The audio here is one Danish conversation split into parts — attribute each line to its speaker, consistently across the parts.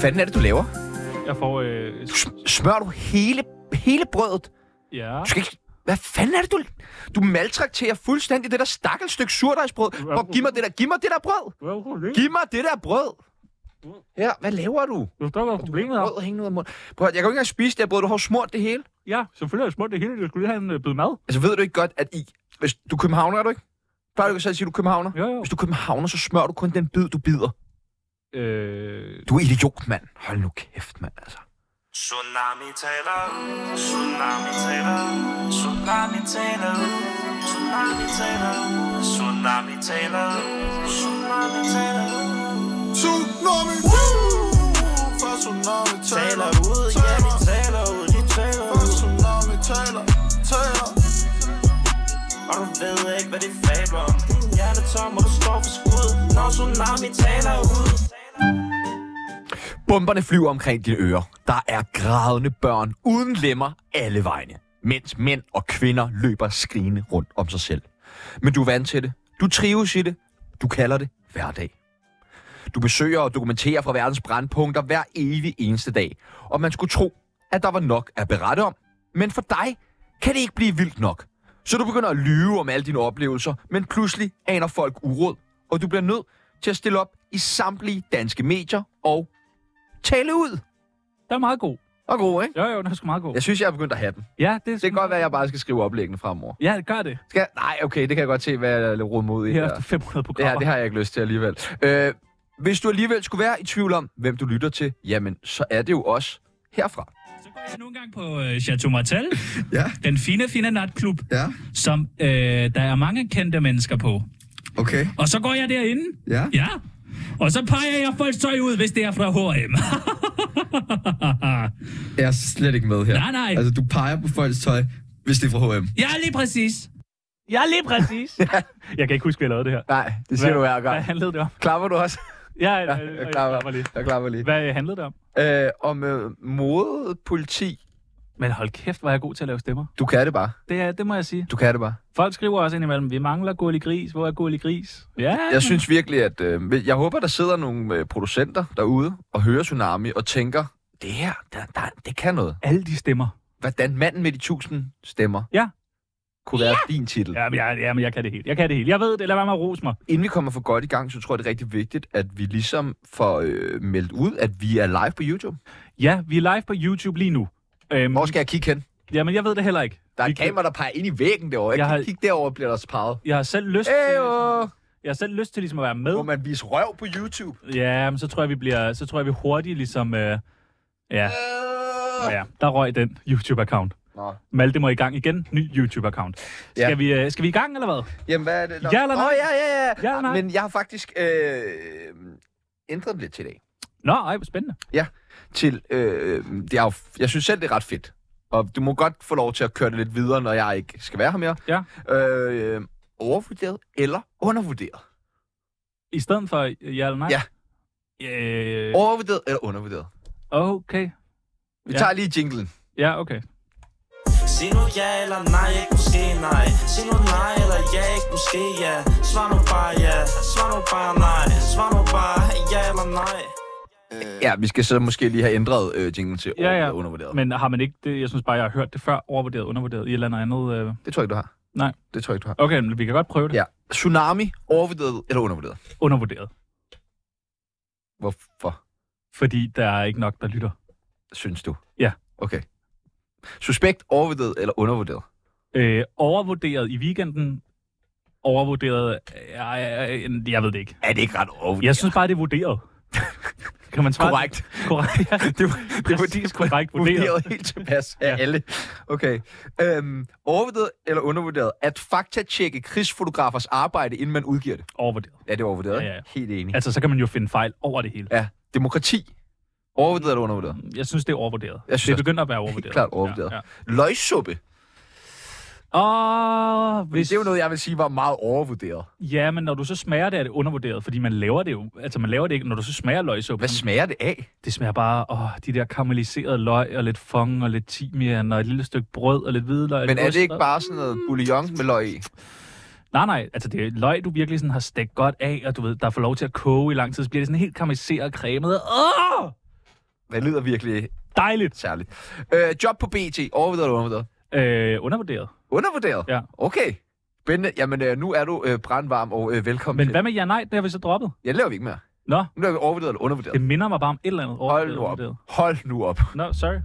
Speaker 1: fanden er det, du laver?
Speaker 2: Jeg får... Øh, s-
Speaker 1: Sm- Smører du hele, hele brødet?
Speaker 2: ja.
Speaker 1: Du skal ikke... Hvad fanden er det, du... Du maltrakterer fuldstændig det der stakkels stykke surdejsbrød. Bob, giv mig det der, giv mig det der brød!
Speaker 2: Hvad er problemet?
Speaker 1: Giv mig det der brød! Ja, hvad laver du?
Speaker 2: Du forstår, hvad problemet er.
Speaker 1: Brød hængende ud af munden. Prøv, at- jeg kan jo ikke engang spise det her brød, du har jo smurt det hele.
Speaker 2: Ja, selvfølgelig er det smukt det hele. Jeg skulle lige have en øh, bid mad.
Speaker 1: Altså ved du ikke godt, at I... Hvis du er københavner, er du ikke? Plejer du ikke selv at sige, du er københavner?
Speaker 2: Jo, jo.
Speaker 1: Hvis du er københavner, så smører du kun den bid, du bider.
Speaker 2: Øh,
Speaker 1: Du er idiot, mand. Hold nu kæft, mand, altså.
Speaker 3: Tsunami taler, tsunami taler, tsunami taler, tsunami taler, tsunami taler, tsunami taler.
Speaker 4: Tsunami Fra Tsunami
Speaker 3: Taler
Speaker 4: taler
Speaker 3: ud, ja vi taler ud, de taler
Speaker 4: Fra
Speaker 3: ud.
Speaker 4: Tsunami taler Taler
Speaker 3: Og du ved ikke hvad de fabler om Din hjerne er tom og du står for skud Når tsunami taler ud
Speaker 1: Bomberne flyver omkring dine ører. Der er grædende børn uden lemmer alle vegne. Mens mænd og kvinder løber skrigende rundt om sig selv. Men du er vant til det. Du trives i det. Du kalder det hverdag. Du besøger og dokumenterer fra verdens brandpunkter hver evig eneste dag. Og man skulle tro, at der var nok at berette om. Men for dig kan det ikke blive vildt nok. Så du begynder at lyve om alle dine oplevelser, men pludselig aner folk uråd. Og du bliver nødt til at stille op i samtlige danske medier og tale ud.
Speaker 2: den er meget god.
Speaker 1: Og god, ikke?
Speaker 2: Jo, jo, den er sgu meget god.
Speaker 1: Jeg synes, jeg er begyndt at have den.
Speaker 2: Ja, det er
Speaker 1: Det kan godt være, at jeg bare skal skrive oplæggene fremover.
Speaker 2: Ja, det gør det.
Speaker 1: Skal jeg? Nej, okay, det kan jeg godt se, hvad jeg råder mod i.
Speaker 2: Her
Speaker 1: her.
Speaker 2: efter 500
Speaker 1: Det
Speaker 2: programmer.
Speaker 1: her, det har jeg ikke lyst til alligevel. Øh, hvis du alligevel skulle være i tvivl om, hvem du lytter til, jamen, så er det jo os herfra.
Speaker 5: Så går jeg nu engang på øh, Chateau Martel,
Speaker 6: Ja,
Speaker 5: den fine, fine natklub,
Speaker 6: ja,
Speaker 5: som øh, der er mange kendte mennesker på.
Speaker 6: okay,
Speaker 5: Og så går jeg derinde,
Speaker 6: ja.
Speaker 5: ja, og så peger jeg folks tøj ud, hvis det er fra H&M.
Speaker 6: Jeg er slet ikke med her.
Speaker 5: Nej, nej.
Speaker 6: Altså, du peger på folks tøj, hvis det er fra H&M.
Speaker 5: ja, lige præcis.
Speaker 2: Ja, lige præcis. jeg kan ikke huske, vi lavede det her.
Speaker 1: Nej, det siger Hva? du hver
Speaker 2: Hvad
Speaker 1: gang.
Speaker 2: handlede det om?
Speaker 1: Klapper du også?
Speaker 2: Ja, øh,
Speaker 1: Ja,
Speaker 2: ja,
Speaker 1: jeg klapper.
Speaker 2: lige.
Speaker 1: Jeg klapper lige.
Speaker 2: Hvad øh, handlede det om?
Speaker 1: Øh, om øh, mode, politi.
Speaker 2: Men hold kæft, var jeg god til at lave stemmer.
Speaker 1: Du kan det bare.
Speaker 2: Det, er, det må jeg sige.
Speaker 1: Du kan det bare.
Speaker 2: Folk skriver også indimellem, vi mangler gullig gris. Hvor er gullig gris? Ja,
Speaker 1: Jeg synes virkelig, at... Øh, jeg håber, der sidder nogle øh, producenter derude og hører Tsunami og tænker, det her, der, der, det kan noget.
Speaker 2: alle de stemmer.
Speaker 1: hvordan manden med de tusind stemmer
Speaker 2: Ja.
Speaker 1: kunne være ja. din titel. Ja.
Speaker 2: Ja, men jeg, ja, men jeg kan det helt. Jeg kan det helt. Jeg ved det. Lad være med at rose mig.
Speaker 1: Inden vi kommer for godt i gang, så tror jeg, det er rigtig vigtigt, at vi ligesom får øh, meldt ud, at vi er live på YouTube.
Speaker 2: Ja, vi er live på YouTube lige nu. Øhm,
Speaker 1: Hvor skal jeg kigge hen?
Speaker 2: Jamen, jeg ved det heller ikke.
Speaker 1: Der er
Speaker 2: Vi
Speaker 1: et kamera, der peger ind i væggen derovre. Jeg,
Speaker 2: Jeg
Speaker 1: jeg kan
Speaker 2: har-
Speaker 1: har... kigge derover bliver der sparet.
Speaker 2: Jeg har selv lyst til,
Speaker 1: Ejo!
Speaker 2: jeg har selv lyst til ligesom at være med.
Speaker 1: Må man vise røv på YouTube?
Speaker 2: Ja, men så tror jeg, vi bliver, så tror jeg, vi hurtigt ligesom... Øh, ja. Nå ja, der røg den YouTube-account.
Speaker 1: Nå.
Speaker 2: Malte må i gang igen. Ny YouTube-account. Skal,
Speaker 1: Ja.
Speaker 2: vi, øh, skal vi i gang, eller hvad?
Speaker 1: Jamen, hvad er det? Nå.
Speaker 2: Ja eller nej?
Speaker 1: Åh, ja, ja, ja.
Speaker 2: Ja eller nej?
Speaker 1: Ah, Men jeg har faktisk øh, ændret den lidt til i dag.
Speaker 2: Nå, ej, hvor spændende.
Speaker 1: Til, øh, det er jo, jeg synes selv, det er ret fedt. Og du må godt få lov til at køre det lidt videre, når jeg ikke skal være her mere.
Speaker 2: Ja.
Speaker 1: øh, overvurderet eller undervurderet?
Speaker 2: I stedet for øh, ja eller nej?
Speaker 1: Ja.
Speaker 2: Øh,
Speaker 1: Overvurderet eller undervurderet?
Speaker 2: okay.
Speaker 1: Vi
Speaker 2: Ja.
Speaker 1: ja. tager lige jinglen.
Speaker 2: Ja, okay.
Speaker 3: Sig nu ja eller nej, ikke måske nej Sig nu nej eller ja, ikke måske ja Svar nu bare ja, svar nu bare nej Svar nu bare ja eller nej
Speaker 1: Ja, vi skal så måske lige have ændret øh, jinglen til
Speaker 2: Ja,
Speaker 1: ja,
Speaker 2: ja.
Speaker 1: ja. undervurderet. Men...
Speaker 2: Men har man ikke det? Jeg synes bare, jeg har hørt det før. Overvurderet, undervurderet, i et eller andet andet. Øh.
Speaker 1: Det tror jeg ikke, du har.
Speaker 2: Nej.
Speaker 1: Det tror jeg ikke, du har.
Speaker 2: Okay, men vi kan godt prøve det.
Speaker 1: Ja. Tsunami, overvurderet eller undervurderet?
Speaker 2: Undervurderet.
Speaker 1: Hvorfor
Speaker 2: Fordi der er ikke nok, der lytter.
Speaker 1: synes du?
Speaker 2: Ja.
Speaker 1: Okay. Suspekt, overvurderet eller undervurderet?
Speaker 2: Øh, overvurderet i weekenden. Overvurderet... Jeg, jeg, jeg ved det ikke.
Speaker 1: Er det ikke ret overvurderet?
Speaker 2: Jeg synes bare, det er vurderet. kan man svare? det?
Speaker 1: Korrekt.
Speaker 2: Korrekt, ja.
Speaker 1: Det var, det var
Speaker 2: Præcis korrekt vurderet.
Speaker 1: vurderet helt tilpas af
Speaker 2: Ja.
Speaker 1: ja. alle. Okay. Øhm, overvurderet eller undervurderet? At faktatjekke krigsfotografers arbejde, inden man udgiver det.
Speaker 2: Overvurderet.
Speaker 1: Ja, det er overvurderet.
Speaker 2: Ja,
Speaker 1: Ja,
Speaker 2: ja.
Speaker 1: ja. Helt enig.
Speaker 2: Altså, så kan man jo finde fejl over det hele.
Speaker 1: Ja, demokrati. Overvurderet eller undervurderet?
Speaker 2: Jeg synes, det er overvurderet.
Speaker 1: Jeg synes
Speaker 2: det
Speaker 1: også,
Speaker 2: begynder at være overvurderet.
Speaker 1: klart overvurderet.
Speaker 2: Ja, ja.
Speaker 1: Løgsuppe.
Speaker 2: Og
Speaker 1: Hvis...
Speaker 2: hvis...
Speaker 1: Det er jo noget, jeg vil sige var meget overvurderet.
Speaker 2: Ja, men når du så smager det, er det undervurderet, fordi man laver det jo. Altså, man laver det ikke, når du så smager løgsuppen.
Speaker 1: Hvad smager det af?
Speaker 2: Det smager bare, åh, de der karamelliserede løg, og lidt fong, og lidt timian, og et lille stykke brød, og lidt hvidløg.
Speaker 1: Men
Speaker 2: lidt
Speaker 1: er
Speaker 2: ost,
Speaker 1: det ikke
Speaker 2: og-
Speaker 1: bare sådan noget bouillon med løg i?
Speaker 2: Nej, nej, altså det er løg, du virkelig sådan har stegt godt af, og du ved, der får lov til at koge i lang tid, så bliver det sådan helt karamelliseret og cremet. Åh!
Speaker 1: Det lyder virkelig
Speaker 2: Dejligt.
Speaker 1: særligt. Øh, job på BT. Overvurderet eller undervurderet?
Speaker 2: Øh, undervurderet.
Speaker 1: Undervurderet?
Speaker 2: Ja.
Speaker 1: Okay. Spændende. Jamen, øh, nu er du øh, brandvarm og øh, velkommen
Speaker 2: Men
Speaker 1: til.
Speaker 2: hvad med ja nej? Det har vi så droppet.
Speaker 1: Ja, det laver vi ikke mere.
Speaker 2: Nå,
Speaker 1: Nu laver vi overvurderet eller undervurderet.
Speaker 2: det minder mig bare om et eller andet.
Speaker 1: Hold nu op.
Speaker 2: Overvurderet.
Speaker 1: Hold nu op.
Speaker 2: Nå, sorry.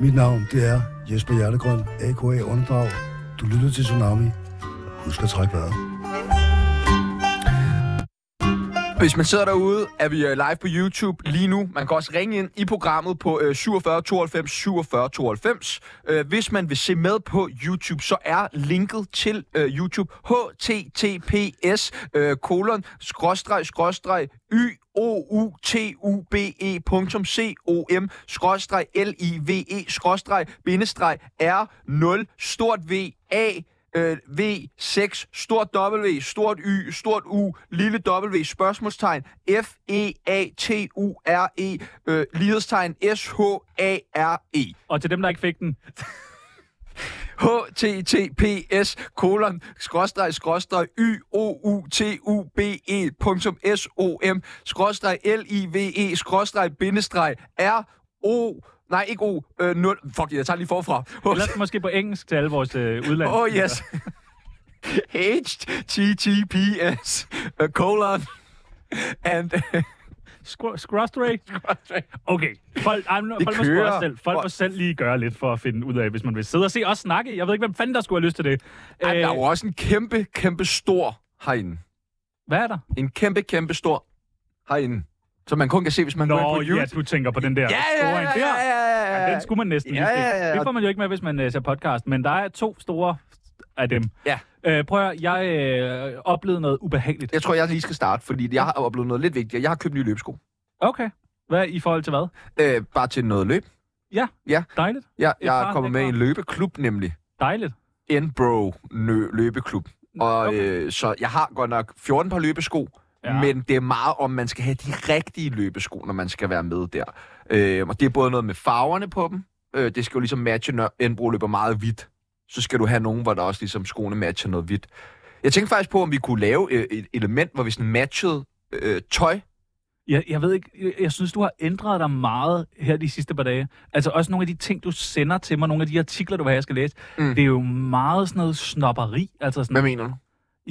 Speaker 7: Mit navn, det er Jesper Hjertegrøn, AKA Underdrag. Du lytter til Tsunami. Husk at trække vejret.
Speaker 1: Hvis man sidder derude, er vi øh, live på YouTube lige nu. Man kan også ringe ind i programmet på øh, 47 92 47 92. Øh, hvis man vil se med på YouTube, så er linket til øh, YouTube https øh, kolon skråstreg skråstreg y o u t u b e punktum c o m skråstreg l i v e skråstreg bindestreg r 0 stort v a øh, V6, stort W, stort Y, stort U, lille W, spørgsmålstegn, E F-E-A-T-U-R-E, øh, lighedstegn, S-H-A-R-E.
Speaker 2: Og til dem, der ikke fik den.
Speaker 1: HTTPS kolon skråstreg skråstreg y o u t u b e punktum s o m skråstreg l i v e skråstreg bindestreg r o nej ikke o øh, 0 fuck jeg tager lige forfra
Speaker 2: Eller måske på engelsk til alle vores øh, udland.
Speaker 1: Oh, yes. HTTPS uh, colon and
Speaker 2: Øh. Skru- Skråstreg. Okay, folk, ej, men folk, må sgu
Speaker 1: kører.
Speaker 2: også selv, folk må
Speaker 1: Folk-
Speaker 2: selv lige gøre lidt for at finde ud af, hvis man vil sidde og se os snakke. Jeg ved ikke, hvem fanden der skulle have lyst til det.
Speaker 1: Ej, der er jo
Speaker 2: Øh,
Speaker 1: også en kæmpe, kæmpe stor herinde.
Speaker 2: hvad er der?
Speaker 1: En kæmpe, kæmpe stor herinde. Som man kun kan se, hvis man går ind på
Speaker 2: Nå,
Speaker 1: YouTube.
Speaker 2: ja, du tænker på den der.
Speaker 1: ja,
Speaker 2: store
Speaker 1: ja,
Speaker 2: en
Speaker 1: ja,
Speaker 2: der.
Speaker 1: ja, ja, ja,
Speaker 2: Ja, den skulle man næsten
Speaker 1: Ja,
Speaker 2: lige se.
Speaker 1: ja, ja.
Speaker 2: Det får man jo ikke med, hvis man øh, ser podcast, men der er to store af dem.
Speaker 1: Ja.
Speaker 2: Øh, prøv at høre, jeg øh, oplevede noget ubehageligt.
Speaker 1: Jeg tror, jeg lige skal starte, fordi jeg har oplevet noget lidt vigtigere. Jeg har købt nye løbesko.
Speaker 2: Okay. Hvad i forhold til hvad?
Speaker 1: Øh, bare til noget løb.
Speaker 2: Dejligt.
Speaker 1: Jeg,
Speaker 2: er
Speaker 1: jeg
Speaker 2: bare
Speaker 1: kommer med i en
Speaker 2: lækkert.
Speaker 1: løbeklub, nemlig.
Speaker 2: Dejligt.
Speaker 1: Enbro nø- løbeklub. Og
Speaker 2: Okay.
Speaker 1: øh, så jeg har godt nok 14 par løbesko,
Speaker 2: Ja.
Speaker 1: ja. men det er meget om, man skal have de rigtige løbesko, når man skal være med der. Øh, og det er både noget med farverne på dem. Øh, det skal jo ligesom matche, når Enbro løber meget hvidt. Så skal du have nogen, hvor der også ligesom skoene matcher noget hvidt. Jeg tænkte faktisk på, om vi kunne lave øh, et element, hvor vi sådan matchede øh, tøj.
Speaker 2: Jeg, jeg ved ikke, jeg, jeg synes, du har ændret dig meget her de sidste par dage. Altså også nogle af de ting, du sender til mig, nogle af de artikler, du har, jeg skal læse. Mm.
Speaker 1: Mm.
Speaker 2: Det er jo meget sådan noget snopperi. Altså sådan,
Speaker 1: Hvad mener du?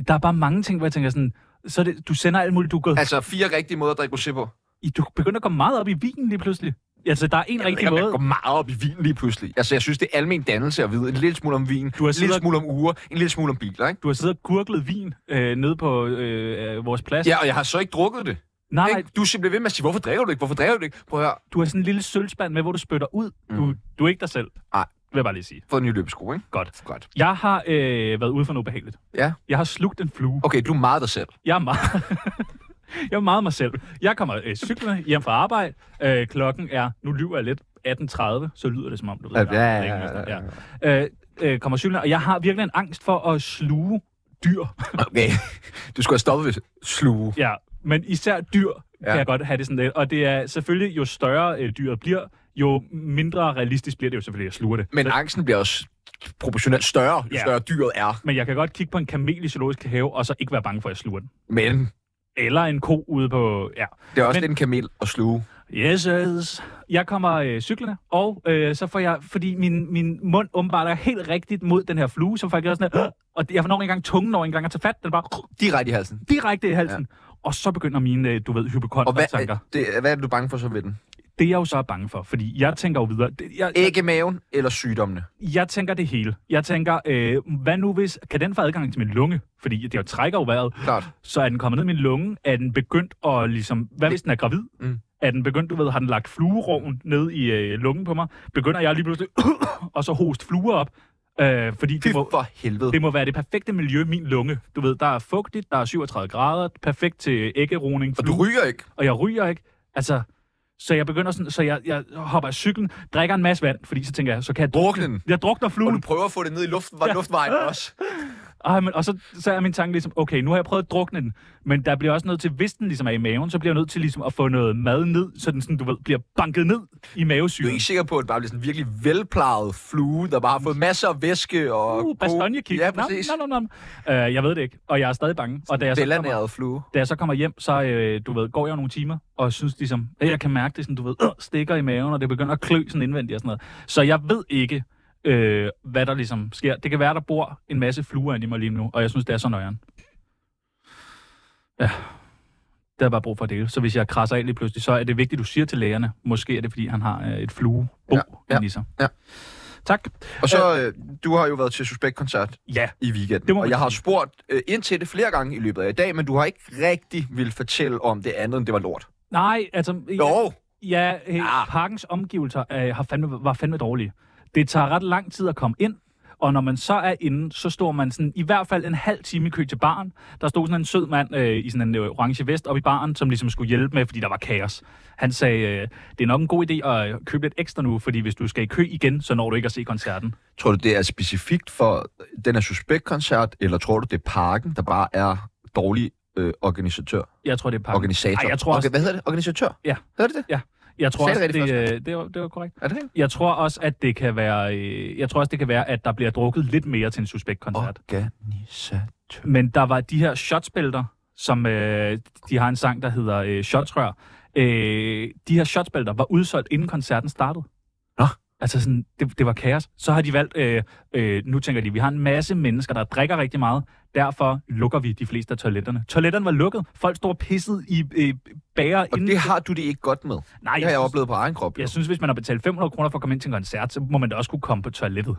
Speaker 2: der er bare mange ting, hvor jeg tænker sådan, så er det, du sender alt muligt, du er, gået,
Speaker 1: Altså fire rigtige måder at drikke rosé på.
Speaker 2: I- du begynder at komme meget op i vinen lige pludselig. Altså, der er en rigtig
Speaker 1: Jeg
Speaker 2: måde.
Speaker 1: går meget op i vin lige pludselig. Altså, jeg synes, det er almen dannelse at vide en lille smule om vin,
Speaker 2: har
Speaker 1: en lille
Speaker 2: siddet-
Speaker 1: smule om uger, en lille smule om biler, ikke?
Speaker 2: Du har siddet og gurglet vin øh, nede på øh, øh, vores plads.
Speaker 1: Ja, og jeg har så ikke drukket det.
Speaker 2: nej, nej,
Speaker 1: Ikke? Du er simpelthen ved med at sige, hvorfor drikker du ikke? Hvorfor drikker du ikke? Prøv at høre,
Speaker 2: du har sådan en lille sølvspand med, hvor du spytter ud. Mm. Du, du er ikke dig selv.
Speaker 1: Nej.
Speaker 2: Vil jeg bare lige sige.
Speaker 1: fået en ny løbesko, ikke?
Speaker 2: Godt.
Speaker 1: Godt.
Speaker 2: Jeg har øh, været ude for noget behageligt.
Speaker 1: Ja.
Speaker 2: Jeg har slugt en flue.
Speaker 1: Okay, du er meget dig selv.
Speaker 2: Jeg er meget... jeg er meget mig selv. Jeg kommer øh, cyklerne hjem fra arbejde. Øh, klokken er, nu lyver jeg lidt, 18.30, så lyder det som om, du ved.
Speaker 1: Ja,
Speaker 2: jeg har
Speaker 1: ja,
Speaker 2: længe
Speaker 1: ja,
Speaker 2: og sådan
Speaker 1: ja,
Speaker 2: noget. Ja. Øh, øh, kommer cyklerne, og jeg har virkelig en angst for at sluge dyr.
Speaker 1: Okay. Du skulle have stoppet ved sluge.
Speaker 2: ja, men især dyr ja. kan
Speaker 1: Ja.
Speaker 2: jeg godt have det sådan lidt. Og det er selvfølgelig, jo større øh, dyret bliver, jo mindre realistisk bliver det jo selvfølgelig at sluge det.
Speaker 1: Men angsten bliver også proportionelt større, jo
Speaker 2: Ja.
Speaker 1: større dyret er.
Speaker 2: Men jeg kan godt kigge på en kamel i zoologisk have, og så ikke være bange for, at jeg sluger den.
Speaker 1: Men
Speaker 2: Eller en ko ude på... Ja.
Speaker 1: det er også
Speaker 2: Men-
Speaker 1: den kamel at sluge.
Speaker 2: Yes, yes. Jeg kommer øh, cyklerne, og øh, så får jeg, fordi min, min mund åbenbart er helt rigtigt mod den her flue, som faktisk er sådan her, og jeg når ikke engang tungen når ikke engang at tage fat, den er bare
Speaker 1: Direkte i halsen.
Speaker 2: direkte i halsen. Ja. Og så begynder mine, øh, du ved,
Speaker 1: Og hvad,
Speaker 2: hypokondre-tanker.
Speaker 1: det, hvad er det, du er bange for så ved den?
Speaker 2: Det er jeg jo så bange for, fordi jeg tænker jo videre. Det, jeg, jeg,
Speaker 1: Ikke maven eller sygdommene?
Speaker 2: jeg tænker det hele. Jeg tænker, øh, hvad nu hvis, kan den få adgang til min lunge? Fordi det jo trækker jo vejret.
Speaker 1: Klart.
Speaker 2: Så er den kommet ned i min lunge? Er den begyndt at ligesom... Hvad hvis den er gravid? Mm.
Speaker 1: Mm.
Speaker 2: Er den begyndt, du ved, har den lagt flueroven ned i øh, lungen på mig? Begynder jeg lige pludselig og så hoste fluer op? Øh, fordi
Speaker 1: Fy
Speaker 2: det må,
Speaker 1: for helvede.
Speaker 2: det må være det perfekte miljø, min lunge. Du ved, der er fugtigt, der er 37 grader, perfekt til æggeroning.
Speaker 1: Og du ryger ikke?
Speaker 2: og jeg ryger ikke. Altså, så jeg begynder sådan, så jeg, jeg hopper af cyklen, drikker en masse vand, fordi så tænker jeg, så kan jeg
Speaker 1: Drukne den.
Speaker 2: Jeg drukner
Speaker 1: Og
Speaker 2: fluen.
Speaker 1: du prøver at få det ned i luft, luftvejen også.
Speaker 2: Ej, men, og så, så er min tanke ligesom, okay, nu har jeg prøvet at drukne den, men der bliver også nødt til, hvis den ligesom er i maven, så bliver jeg nødt til ligesom at få noget mad ned, så den sådan, du ved, bliver banket ned
Speaker 1: Du
Speaker 2: i
Speaker 1: er
Speaker 2: mavesyren.
Speaker 1: ikke sikker på, at det bare bliver sådan en virkelig velplejet flue, der bare har fået masser af væske og...
Speaker 2: Uh, bastonjekik.
Speaker 1: Ja, præcis.
Speaker 2: Nå, nå, nå, nå. Øh, jeg ved det ikke, og jeg er stadig bange. Og da jeg, så kommer,
Speaker 1: Velanæret flue.
Speaker 2: da jeg så kommer hjem, så øh, du ved, går jeg nogle timer, og synes ligesom, at jeg kan mærke det, sådan, du ved, øh, stikker i maven, og det begynder at klø sådan indvendigt og sådan noget. Så jeg ved ikke, øh, hvad der ligesom sker. Det kan være, der bor en masse fluer inde i mig lige nu, og jeg synes, det er så nøjeren. Ja, der er bare brug for at dele. Så hvis jeg krasser af lige pludselig, så er det vigtigt, du siger til lægerne. Måske er det, fordi han har øh, et fluebo ja,
Speaker 1: ja,
Speaker 2: ja, i sig.
Speaker 1: ja.
Speaker 2: Tak.
Speaker 1: Og så, øh, du har jo været til Suspekt-koncert
Speaker 2: Ja,
Speaker 1: i weekenden,
Speaker 2: Det må
Speaker 1: og
Speaker 2: man
Speaker 1: jeg har
Speaker 2: sige.
Speaker 1: spurgt øh, ind til det flere gange i løbet af i dag, men du har ikke rigtig vil fortælle om det andet, end det var lort.
Speaker 2: nej, altså...
Speaker 1: Jo,
Speaker 2: Ja, øh,
Speaker 1: Ja.
Speaker 2: ja. parkens omgivelser øh, har fandme, var fandme dårlige. Det tager ret lang tid at komme ind, og når man så er inde, så står man sådan i hvert fald en halv time i kø til baren. Der stod sådan en sød mand øh, i sådan en øh, orange vest oppe i baren, som ligesom skulle hjælpe med, fordi der var kaos. Han sagde, øh, det er nok en god idé at øh, købe lidt ekstra nu, fordi hvis du skal i kø igen, så når du ikke at se koncerten.
Speaker 1: tror du, det er specifikt for den her Suspekt-koncert, eller tror du, det er Parken, der bare er dårlig øh, organisatør?
Speaker 2: Jeg tror, det er parken.
Speaker 1: Organisator?
Speaker 2: Ej, jeg tror også-
Speaker 1: Orga- Hvad hedder det? Organisatør?
Speaker 2: Ja.
Speaker 1: Hedder det det?
Speaker 2: Jeg tror
Speaker 1: Sagde
Speaker 2: også,
Speaker 1: jeg det
Speaker 2: det,
Speaker 1: rigtigt
Speaker 2: øh, det, var, det var korrekt.
Speaker 1: Er det rigtigt?
Speaker 2: Jeg tror også, at det kan være, øh, jeg tror også, det kan være, at der bliver drukket lidt mere til en suspektkoncert.
Speaker 1: Organisatør.
Speaker 2: Men der var de her shotsbælter, som øh, de har en sang, der hedder øh, Shotsrør. Øh, de her shotsbælter var udsolgt, inden koncerten startede.
Speaker 1: Nå.
Speaker 2: Altså sådan, det, det var kaos. Så har de valgt, øh, øh, nu tænker de, vi har en masse mennesker, der drikker rigtig meget. Derfor lukker vi de fleste af toiletterne. Toiletterne var lukket. Folk stod og pissede i øh, bager.
Speaker 1: Og det har du det ikke godt med.
Speaker 2: Nej,
Speaker 1: Det
Speaker 2: jeg
Speaker 1: har jeg
Speaker 2: synes-
Speaker 1: oplevet på egen krop. jo.
Speaker 2: Jeg synes, hvis man har betalt 500 kroner for at komme ind til en koncert, så må man da også kunne komme på toilettet.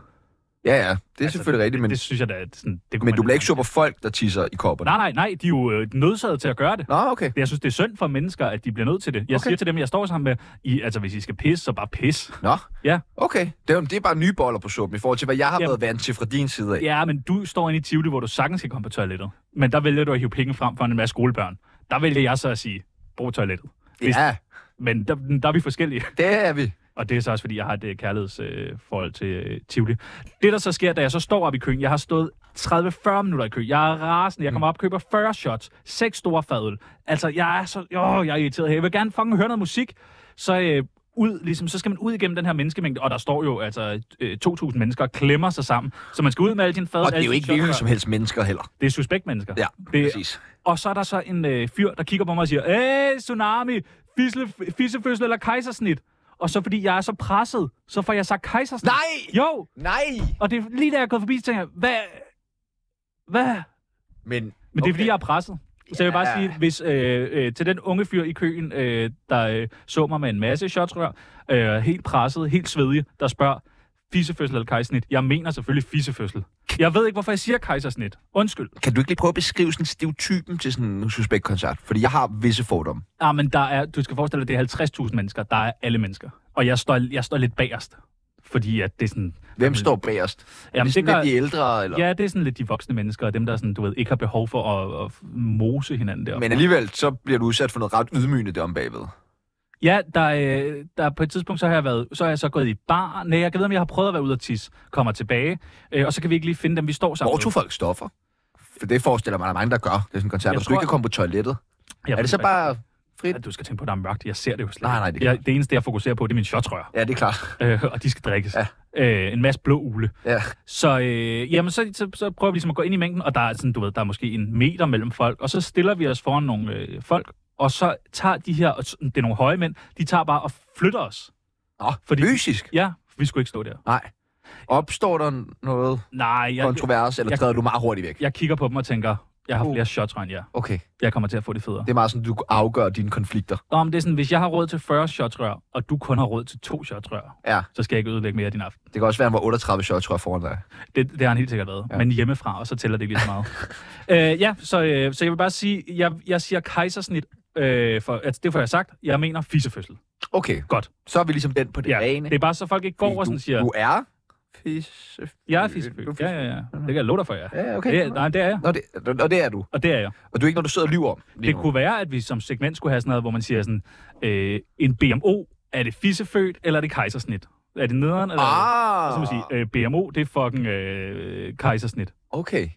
Speaker 1: Ja, ja, det er
Speaker 2: Altså,
Speaker 1: selvfølgelig rigtigt, men,
Speaker 2: Det synes jeg da, at sådan, det kunne
Speaker 1: men
Speaker 2: man
Speaker 1: du
Speaker 2: da
Speaker 1: bliver
Speaker 2: gøre.
Speaker 1: ikke sur på folk, der tisser i kopperne.
Speaker 2: Nej, nej, nej. De er jo øh, nødsaget til at gøre det.
Speaker 1: Nå, okay.
Speaker 2: Jeg synes, det er synd for mennesker, at de bliver nødt til det. Jeg
Speaker 1: Okay.
Speaker 2: okay. siger til dem, jeg står sammen med, I, altså hvis I skal pisse, så bare pis.
Speaker 1: Nå,
Speaker 2: Ja.
Speaker 1: okay. Det er, jo- det er bare nye boller på suppen i forhold til, hvad jeg har
Speaker 2: Jamen.
Speaker 1: været vant til fra din side af.
Speaker 2: Ja, men du står inde i Tivoli, hvor du sagtens skal komme på toilettet. Men der vælger du at hive penge frem for en masse skolebørn. Der vælger jeg så at sige, brug toilettet. Hvis-
Speaker 1: ja
Speaker 2: Men der, der er vi forskellige.
Speaker 1: det er vi.
Speaker 2: Og det er så også, fordi jeg har et øh, kærlighedsforhold til øh, Tivoli. Det, der så sker, da jeg så står op i køen, jeg har stået 30-40 minutter i kø. Jeg er rasende. Jeg kommer op og køber 40 shots. Seks store fadøl. Altså, jeg er så... Åh, jeg er irriteret her. Jeg vil gerne fucking høre noget musik. Så øh, ud, ligesom, så skal man ud igennem den her menneskemængde, og der står jo altså øh, 2.000 mennesker og klemmer sig sammen. Så man skal ud med alle dine fadøl.
Speaker 1: Og det er
Speaker 2: alle
Speaker 1: jo
Speaker 2: dine
Speaker 1: ikke hvilken
Speaker 2: shots.
Speaker 1: som helst mennesker heller.
Speaker 2: Det er suspektmennesker.
Speaker 1: Ja,
Speaker 2: det,
Speaker 1: præcis.
Speaker 2: Og så er der så en øh, fyr, der kigger på mig og siger, Æh, tsunami, fisle, fissefødsel eller kejsersnit. Og så fordi jeg er så presset, så får jeg sagt kejsersnit.
Speaker 1: Nej!
Speaker 2: Jo,
Speaker 1: Nej!
Speaker 2: og det er lige da jeg er gået forbi, så tænker jeg, hvad? Hvad?
Speaker 1: Men,
Speaker 2: Men det er, fordi jeg er presset. Så jeg vil bare
Speaker 1: Ja.
Speaker 2: sige, hvis øh, øh, til den unge fyr i køen, øh, der øh, så mig med en masse shotsrør, øh, helt presset, helt svedig, der spørger, fissefødsel eller kejsersnit? Jeg mener selvfølgelig fissefødsel. Jeg ved ikke, hvorfor jeg siger kejsersnit. Undskyld.
Speaker 1: Kan du ikke lige prøve at beskrive sådan stereotypen til sådan en suspektkoncert? Fordi jeg har visse fordomme.
Speaker 2: Ja, Ah, men der er, du skal forestille dig, det er 50.000 mennesker. Der er alle mennesker. Og jeg står, jeg står lidt bagerst. Fordi at det er sådan...
Speaker 1: Hvem står bagerst? Jamen, er
Speaker 2: Jamen,
Speaker 1: det
Speaker 2: det
Speaker 1: sådan
Speaker 2: gør-
Speaker 1: lidt de ældre? Eller?
Speaker 2: Ja, det er sådan lidt de voksne mennesker, og dem, der sådan, du ved, ikke har behov for at, at mose hinanden der.
Speaker 1: Men alligevel, så bliver du udsat for noget ret ydmygende der om bagved.
Speaker 2: Ja, der, øh, der på et tidspunkt, så har jeg, været, så har jeg så gået i bar. Nej, jeg kan vide, om jeg har prøvet at være ude og tisse. Kommer tilbage, øh, og så kan vi ikke lige finde dem, vi står sammen
Speaker 1: Hvor tog folk stoffer? For det forestiller mig, at der er mange, der gør. Det er sådan en koncert,
Speaker 2: Jeg
Speaker 1: hvor du ikke
Speaker 2: tror-
Speaker 1: kan komme på toilettet.
Speaker 2: Jeg
Speaker 1: Er
Speaker 2: ved
Speaker 1: det så
Speaker 2: ikke,
Speaker 1: bare frit?
Speaker 2: hvad- Du skal tænke på, at der er mørkt. Jeg ser det jo slet
Speaker 1: Nej,
Speaker 2: ikke.
Speaker 1: nej, det er
Speaker 2: jeg, det eneste, jeg fokuserer på, det er min shotrør.
Speaker 1: Ja, det er klart.
Speaker 2: Øh, og de skal drikkes.
Speaker 1: Ja.
Speaker 2: Øh, en masse blå ule.
Speaker 1: Ja.
Speaker 2: Så, øh, jamen, så, så, så prøver vi ligesom at gå ind i mængden, og der er, sådan, du ved, der er måske en meter mellem folk, og så stiller vi os foran nogle øh, folk, og så tager de her, og s- det er nogle høje mænd, de tager bare og flytter os.
Speaker 1: Nå,
Speaker 2: Fordi-
Speaker 1: fysisk?
Speaker 2: Ja, vi skulle ikke stå der.
Speaker 1: Nej. Opstår der noget
Speaker 2: Nej, jeg,
Speaker 1: kontrovers, eller
Speaker 2: jeg-
Speaker 1: træder du meget hurtigt væk?
Speaker 2: jeg kigger på dem og tænker, jeg har
Speaker 1: Uh.
Speaker 2: flere shots, end jer.
Speaker 1: Okay.
Speaker 2: Jeg kommer til at få det federe.
Speaker 1: Det er meget sådan, du afgør dine konflikter.
Speaker 2: Om det er sådan, hvis jeg har råd til 40 shots rør, og du kun har råd til to shots rør,
Speaker 1: Ja,
Speaker 2: så skal jeg ikke ødelægge mere af din aften.
Speaker 1: det kan også være, at han var 38 shots, tror jeg, foran dig.
Speaker 2: Det, det har han helt sikkert været.
Speaker 1: Ja.
Speaker 2: Ja. Men hjemmefra, og så tæller det ikke lige så meget. øh, ja, så, øh, så jeg vil bare sige, jeg, jeg siger kejsersnit, øh, for, altså, det får jeg sagt. Jeg mener fisefødsel.
Speaker 1: Okay.
Speaker 2: Godt.
Speaker 1: Så er vi ligesom den på det
Speaker 2: Ja,
Speaker 1: rene.
Speaker 2: det er bare så folk ikke går og sådan
Speaker 1: du,
Speaker 2: siger,
Speaker 1: Du er fisse...
Speaker 2: jeg er
Speaker 1: Du
Speaker 2: fisefødsel.
Speaker 1: er
Speaker 2: Ja, ja, ja. Det kan jeg love dig for, jeg er.
Speaker 1: Ja, okay.
Speaker 2: Det, er- nej, det er jeg.
Speaker 1: Nå, det, og det er du.
Speaker 2: Og det er jeg.
Speaker 1: Og du er ikke, når du sidder og lyver om. lige
Speaker 2: Det
Speaker 1: nu.
Speaker 2: kunne være, at vi som segment skulle have sådan noget, hvor man siger sådan, øh, en BMO, er det fissefødt, eller er det kejsersnit? Er det nederen, eller er
Speaker 1: Ah,
Speaker 2: det- Så må man sige, øh, BMO, det er fucking øh, kejsersnit.
Speaker 1: okay.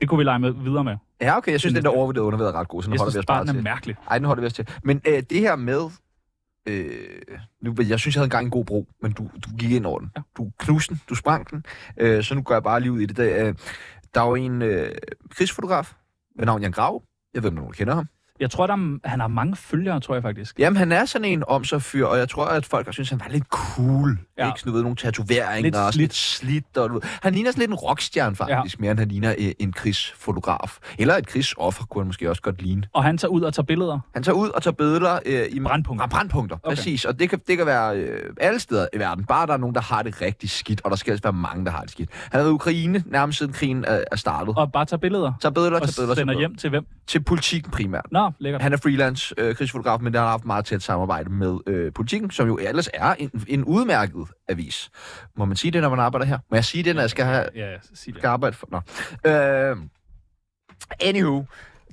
Speaker 2: Det kunne vi lege med videre med.
Speaker 1: Ja, okay. Jeg synes, den der overvurderet undervurderet er ret god, så den
Speaker 2: Jeg
Speaker 1: holder vi
Speaker 2: synes
Speaker 1: os
Speaker 2: bare,
Speaker 1: bare
Speaker 2: den er
Speaker 1: til.
Speaker 2: mærkelig.
Speaker 1: Ej, den holder vi os til. Men øh, det her med... Øh, nu, jeg synes, jeg havde engang en god bro, men du, du gik ind over den.
Speaker 2: Ja.
Speaker 1: Du knuste den, du sprang den, øh, så nu går jeg bare lige ud i det. Der, øh, der er jo en øh, krigsfotograf med navn Jan Grav. Jeg ved, om nogen kender ham.
Speaker 2: Jeg tror, der er, han har mange følgere, tror jeg faktisk.
Speaker 1: Jamen, han er sådan en om sig fyr, og jeg tror, at folk har syntes, han var lidt cool.
Speaker 2: Ja.
Speaker 1: Ja. Ikke sådan, du ved, nogle tatoveringer
Speaker 2: Lidt
Speaker 1: lidt og sådan lidt slidt. Og, du ved. Han ligner sådan lidt en rockstjerne, faktisk, ja. mere end han ligner øh, en krigsfotograf. Eller et krigsoffer, kunne han måske også godt ligne.
Speaker 2: Og han tager ud og tager billeder.
Speaker 1: Han tager ud og tager billeder øh, i
Speaker 2: Brandpunkter.
Speaker 1: Ah, brandpunkter,
Speaker 2: Okay.
Speaker 1: okay. præcis. Og det kan, det kan være øh, alle steder i verden. Bare der er nogen, der har det rigtig skidt, og der skal altså være mange, der har det skidt. Han har været i Ukraine nærmest siden krigen øh, er, er startet. Og
Speaker 2: Og bare tager billeder.
Speaker 1: tager billeder,
Speaker 2: Og
Speaker 1: tager billeder, tager
Speaker 2: sender
Speaker 1: billeder.
Speaker 2: hjem til hvem?
Speaker 1: Til politikken primært.
Speaker 2: Nå, lækkert.
Speaker 1: Han er freelance øh, krigsfotograf, men der har haft meget tæt samarbejde med øh, politikken, som jo ellers er en, en udmærket avis. Må man sige det, når man arbejder her? Må jeg sige det, når jeg skal, have,
Speaker 2: Ja, ja, sig det.
Speaker 1: skal arbejde for? Nå. Øh, anywho,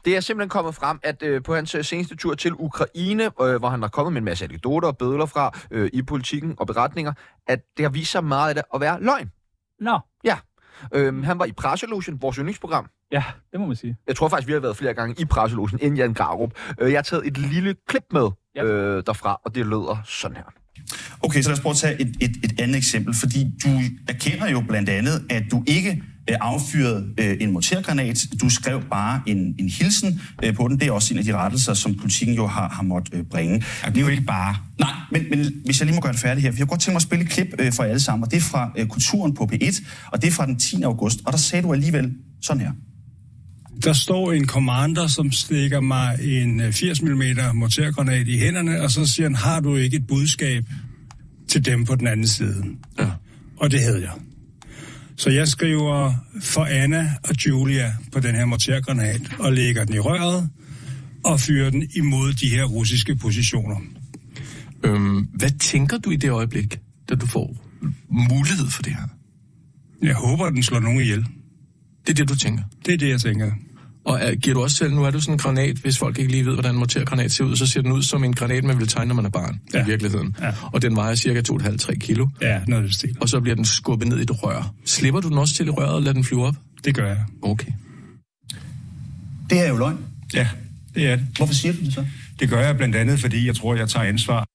Speaker 1: det er simpelthen kommet frem, at øh, på hans øh, seneste tur til Ukraine, øh, hvor han har kommet med en masse anekdoter og bødler fra øh, i politikken og beretninger, at det har vist sig meget af det at være løgn.
Speaker 2: Nå,
Speaker 1: Øh, han var i Presselogen, vores yndlingsprogram,
Speaker 2: ja, det må man sige.
Speaker 1: jeg tror faktisk, vi har været flere gange i presselogen inden Jan Grarup. Øh, Jeg har taget et lille klip med
Speaker 2: Ja.
Speaker 1: øh, derfra, og det lyder sådan her.
Speaker 8: Okay, så lad os prøve at tage et, et, et andet eksempel, fordi du erkender jo blandt andet, at du ikke øh, affyrede øh, en mortergranat, du skrev bare en, en hilsen øh, på den. Det er også en af de rettelser, som politikken jo har, har måttet øh, bringe. Det er jo ikke bare... Nej, men, men hvis jeg lige må gøre det færdigt her, for jeg kunne godt tænke mig at spille et klip øh, fra alle sammen, og det er fra øh, Kulturen på P1, og det er fra den 10. august, og der sagde du alligevel sådan her.
Speaker 9: Der står en commander, som stikker mig en øh, 80 mm mortergranat i hænderne, og så siger han, har du ikke et budskab til dem på den anden side? Ja. Og det havde jeg. Så jeg skriver for Anna og Julia på den her mortergranat, og lægger den i røret, og fyrer den imod de her russiske positioner.
Speaker 10: Øhm, hvad tænker du i det øjeblik, da du får mulighed for det her?
Speaker 9: Jeg håber, den slår nogen ihjel.
Speaker 10: Det er det, du tænker.
Speaker 9: Det er det, jeg tænker.
Speaker 10: Og er, giver du også selv, nu er du sådan en granat, hvis folk ikke lige ved, hvordan en mortergranat ser ud, så ser den ud som en granat, man ville tegne, når man er barn, ja.
Speaker 9: Ja.
Speaker 10: i virkeligheden.
Speaker 9: Ja.
Speaker 10: Og den vejer cirka 2,5-3 kilo,
Speaker 9: Ja, noget i den stil.
Speaker 10: og så bliver den skubbet ned i et rør. Slipper du den også til i røret og lader den flyve op?
Speaker 9: Det gør jeg.
Speaker 10: Okay.
Speaker 8: Det her er jo løgn.
Speaker 9: Ja, det er det.
Speaker 8: Hvorfor siger du det så?
Speaker 9: Det gør jeg blandt andet, fordi jeg tror, jeg tager ansvar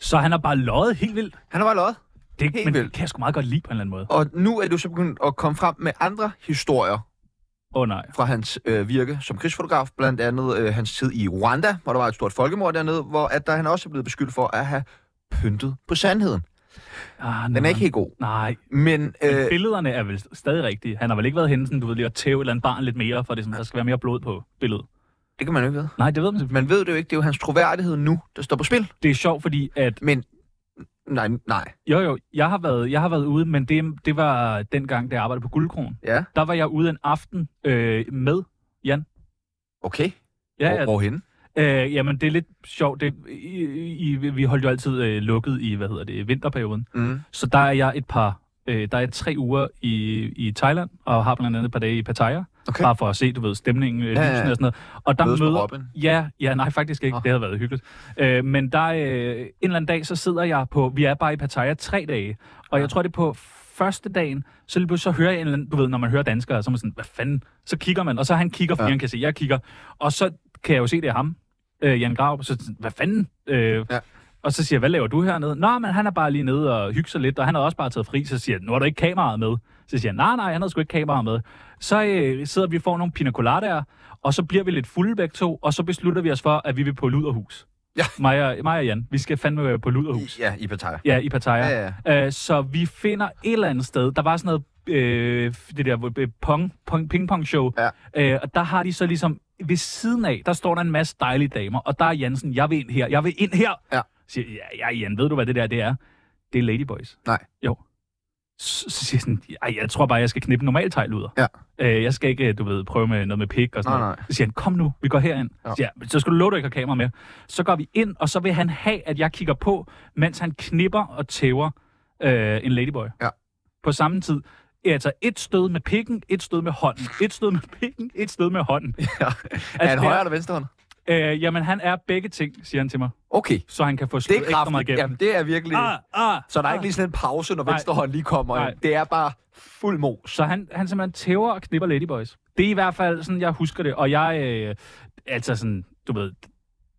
Speaker 2: Så han har bare løjet helt vildt.
Speaker 1: Han har bare løjet.
Speaker 2: Det,
Speaker 1: Helt
Speaker 2: men det
Speaker 1: vildt.
Speaker 2: kan jeg sgu meget godt lide på en eller anden måde.
Speaker 1: Og nu er du så begyndt at komme frem med andre historier
Speaker 2: Åh oh, nej.
Speaker 1: fra hans øh, virke som krigsfotograf, blandt andet øh, hans tid i Rwanda, hvor der var et stort folkemord dernede, hvor at der, han også er blevet beskyldt for at have pyntet på sandheden.
Speaker 2: Ah,
Speaker 1: Den er
Speaker 2: nej.
Speaker 1: ikke helt god,
Speaker 2: Nej,
Speaker 1: men...
Speaker 2: øh,
Speaker 1: Øh,
Speaker 2: billederne er vel stadig rigtige. Han har vel ikke været henne, sådan, du ved, lige at tæve et eller andet barn lidt mere, for det er sådan, der skal være mere blod på billedet.
Speaker 1: det kan man jo ikke vide.
Speaker 2: Nej, det ved man simpelthen.
Speaker 1: Man ved det jo ikke, det er jo hans troværdighed nu, der står på spil.
Speaker 2: Det er sjovt, fordi at,
Speaker 1: Men nej, nej,
Speaker 2: jo jo, jeg har været, jeg har været ude, men det, det var dengang, da jeg arbejdede på Guldkron.
Speaker 1: ja,
Speaker 2: Der var jeg ude en aften øh, med Jan.
Speaker 1: okay.
Speaker 2: Ja,
Speaker 1: Hvor,
Speaker 2: ja,
Speaker 1: hvorhenne?
Speaker 2: Øh, jamen, det er lidt sjovt. Det, i, i, vi holdt jo altid øh, lukket i, hvad hedder det, vinterperioden.
Speaker 1: Mm.
Speaker 2: Mm-hmm. Så der er jeg et par, øh, der er jeg tre uger i, i Thailand, og har blandt andet et par dage i Pattaya.
Speaker 1: Okay.
Speaker 2: Bare for at se, du ved, stemningen, øh,
Speaker 1: Ja, ja,
Speaker 2: lysene
Speaker 1: ja.
Speaker 2: og sådan noget. Og der
Speaker 1: Mødes med
Speaker 2: møder...
Speaker 1: Robin?
Speaker 2: Ja, ja, nej, faktisk ikke.
Speaker 1: Nå.
Speaker 2: Det havde været hyggeligt. Øh, men der øh, en eller anden dag, så sidder jeg på... Vi er bare i Pattaya tre dage, og jeg tror, det er på første dagen, så lige pludselig så hører jeg en eller anden, du ved, når man hører danskere, så er man sådan, hvad fanden? Så kigger man, og så han kigger, fordi
Speaker 1: Ja.
Speaker 2: han kan se, jeg kigger, og så kan jeg jo se, det er ham, øh, Jan Grav, så sådan, hvad fanden? Øh,
Speaker 1: Ja.
Speaker 2: Og så siger jeg, hvad laver du hernede? Nå, men han er bare lige nede og hygger sig lidt, og han har også bare taget fri, så siger jeg, nu har du ikke kameraet med. Så siger jeg, nej, nej, han havde sgu ikke kameraet med. Så øh, sidder vi og får nogle pina coladaer, og så bliver vi lidt fulde begge to, og så beslutter vi os for, at vi vil på Luderhus.
Speaker 1: Ja.
Speaker 2: Mig og, mig og Jan, vi skal fandme være på Luderhus.
Speaker 1: I, ja, i Pattaya.
Speaker 2: Ja, i Pattaya.
Speaker 1: Ja, ja.
Speaker 2: Øh, så vi finder et eller andet sted. Der var sådan noget, øh, det der øh, pong, pong, ping-pong-show.
Speaker 1: Ja.
Speaker 2: Øh, og der har de så ligesom, ved siden af, der står der en masse dejlige damer. Og der er Jansen, jeg vil ind her, jeg vil ind her.
Speaker 1: Ja.
Speaker 2: Siger, ja, ja, Jan, ved du, hvad det der det er? Det er Ladyboys.
Speaker 1: Nej.
Speaker 2: Jo. Så, så siger jeg sådan, Ej, jeg tror bare, jeg skal knippe normalt tegluder.
Speaker 1: Ja.
Speaker 2: Øh, jeg skal ikke, du ved, prøve med noget med pik og sådan
Speaker 1: Nej,
Speaker 2: noget.
Speaker 1: nej.
Speaker 2: Så siger han, kom nu, vi går herind. Ja.
Speaker 1: Ja.
Speaker 2: Siger, jeg, "Men så skal du love, du ikke har kamera med. Så går vi ind, og så vil han have, at jeg kigger på, mens han knipper og tæver øh, en ladyboy.
Speaker 1: Ja.
Speaker 2: På samme tid. Altså et stød med pikken, et stød med hånden. Et stød med pikken, et stød med hånden. Altså,
Speaker 1: Ja. Er
Speaker 2: det
Speaker 1: han
Speaker 2: er-
Speaker 1: højre eller venstre hånd?
Speaker 2: Øh, jamen, han er begge ting, siger han til mig,
Speaker 1: Okay.
Speaker 2: så han kan få
Speaker 1: Det
Speaker 2: slået
Speaker 1: er
Speaker 2: ekstra meget
Speaker 1: kraftigt.
Speaker 2: igennem.
Speaker 1: Jamen, det er virkelig...
Speaker 2: ah, ah,
Speaker 1: Så der er ikke
Speaker 2: ah.
Speaker 1: lige sådan en pause, når
Speaker 2: Nej.
Speaker 1: venstre hånd lige kommer.
Speaker 2: Nej.
Speaker 1: Nej. Det er bare fuld mos.
Speaker 2: Så han, han simpelthen tæver og knipper ladyboys. Det er i hvert fald sådan, jeg husker det. Og jeg, øh, altså sådan, du ved,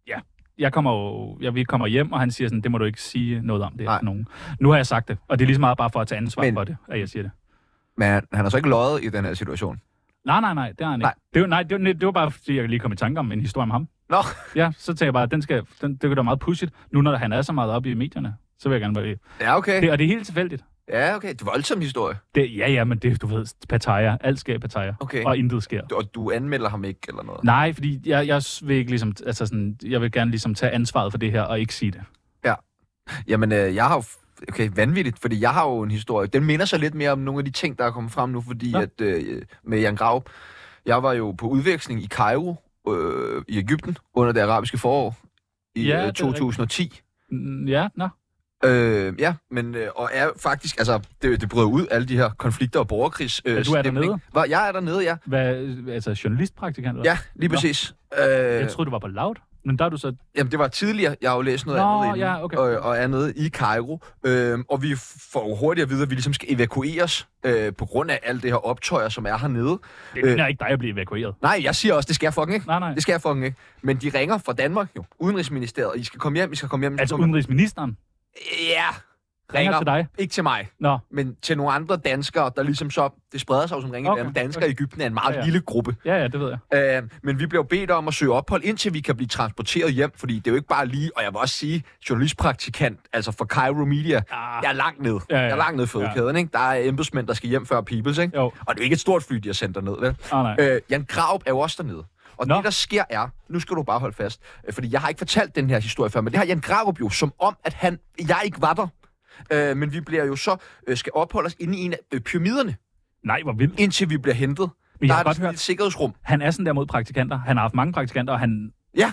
Speaker 2: ja, jeg kommer jo, jeg, vi kommer hjem, og han siger sådan, det må du ikke sige noget om det her til nogen. Nu har jeg sagt det, og det er lige så meget bare for at tage ansvar
Speaker 1: Men-
Speaker 2: for det, at jeg siger det.
Speaker 1: Men han har så ikke løjet i den her situation.
Speaker 2: Nej, nej, nej, det har han ikke. Nej. Det, var, nej, det, var, det var bare, fordi jeg lige kom i tanke om en historie om ham.
Speaker 1: Nå.
Speaker 2: Ja, så tænker jeg bare, den skal, den, det kan da meget pudsigt. Nu når han er så meget oppe i medierne, så vil jeg gerne være det.
Speaker 1: Ja, okay.
Speaker 2: det og det er helt tilfældigt.
Speaker 1: Ja, okay. Det er voldsom historie.
Speaker 2: Det, ja, ja, men det, du ved, Pattaya. Alt sker i Pattaya.
Speaker 1: Okay.
Speaker 2: Og intet sker.
Speaker 1: Og du anmelder ham ikke eller noget?
Speaker 2: Nej, fordi jeg, jeg vil ikke ligesom, altså sådan, jeg vil gerne ligesom tage ansvaret for det her og ikke sige det.
Speaker 1: Ja. Jamen, øh, jeg har jo... f- Okay, vanvittigt, fordi jeg har jo en historie. Den minder sig lidt mere om nogle af de ting, der er kommet frem nu, fordi ja. at øh, med Jan Grav, jeg var jo på udveksling i Kairo øh, i Ægypten under det arabiske forår i
Speaker 2: Ja, det
Speaker 1: ja,
Speaker 2: er
Speaker 1: øh,
Speaker 2: rigtigt.
Speaker 1: 2010.
Speaker 2: Mm, Ja, nå.
Speaker 1: Øh, ja, men øh, og er faktisk, altså, det, det brød ud, alle de her konflikter og borgerkrigs. Øh,
Speaker 2: Ja, du er
Speaker 1: stemning.
Speaker 2: dernede?
Speaker 1: Hvor- Jeg er dernede, ja.
Speaker 2: Hvad, øh, altså journalistpraktikant? Eller?
Speaker 1: Ja, lige
Speaker 2: Nå.
Speaker 1: præcis. Øh,
Speaker 2: Jeg troede, du var på loud, men der er du så...
Speaker 1: Jamen, det var tidligere. Jeg har jo læst noget
Speaker 2: Nå,
Speaker 1: andet inden,
Speaker 2: ja, okay.
Speaker 1: og, og er nede i Cairo. Øhm, og vi får jo hurtigt at vide, at vi ligesom skal evakueres øh, på grund af alt det her optøjer, som er hernede.
Speaker 2: Det ligner ikke dig at blive evakueret.
Speaker 1: Nej, jeg siger også, det skal jeg fucking ikke.
Speaker 2: Nej, nej.
Speaker 1: Øh. Det skal jeg fucking ikke. Men de ringer fra Danmark jo. Udenrigsministeriet. I skal komme hjem, I skal komme hjem. I skal
Speaker 2: Altså
Speaker 1: komme hjem.
Speaker 2: udenrigsministeren
Speaker 1: Ja.
Speaker 2: ringer til dig.
Speaker 1: Ikke til mig.
Speaker 2: Nå.
Speaker 1: Men til nogle andre danskere, der ligesom så... Det spreder sig jo som ringer.
Speaker 2: Okay,
Speaker 1: Okay. Danskere
Speaker 2: okay.
Speaker 1: i Ægypten er en meget
Speaker 2: Ja,
Speaker 1: ja,
Speaker 2: ja.
Speaker 1: ja. lille gruppe.
Speaker 2: Ja, ja, det ved jeg.
Speaker 1: Øh, men vi bliver bedt om at søge ophold, indtil vi kan blive transporteret hjem, fordi det er jo ikke bare lige, og jeg vil også sige, journalistpraktikant, altså for Cairo Media, jeg er langt ned.
Speaker 2: Ah. Ja, ja.
Speaker 1: Jeg er langt ned i fødekæden, ikke? Der er embedsmænd, der skal hjem før Peoples, ikke?
Speaker 2: Jo.
Speaker 1: Og det er jo ikke et stort fly, de har sendt derned, vel?
Speaker 2: Ah, nej.
Speaker 1: Øh, Jan Graup er jo også dernede. Og Nå. det, der sker er, nu skal du bare holde fast, øh, fordi jeg har ikke fortalt den her historie før, men det har Jan Graup jo, som om, at han, jeg ikke var der. Øh, men vi bliver jo så, øh, skal opholde os inde i en af øh, pyramiderne,
Speaker 2: Nej, hvor vildt.
Speaker 1: indtil vi bliver hentet.
Speaker 2: Men
Speaker 1: der
Speaker 2: jeg
Speaker 1: er
Speaker 2: har
Speaker 1: der
Speaker 2: godt
Speaker 1: sådan
Speaker 2: hørt,
Speaker 1: et sikkerhedsrum.
Speaker 2: han er sådan der mod praktikanter. Han har haft mange praktikanter, og han,
Speaker 1: Ja,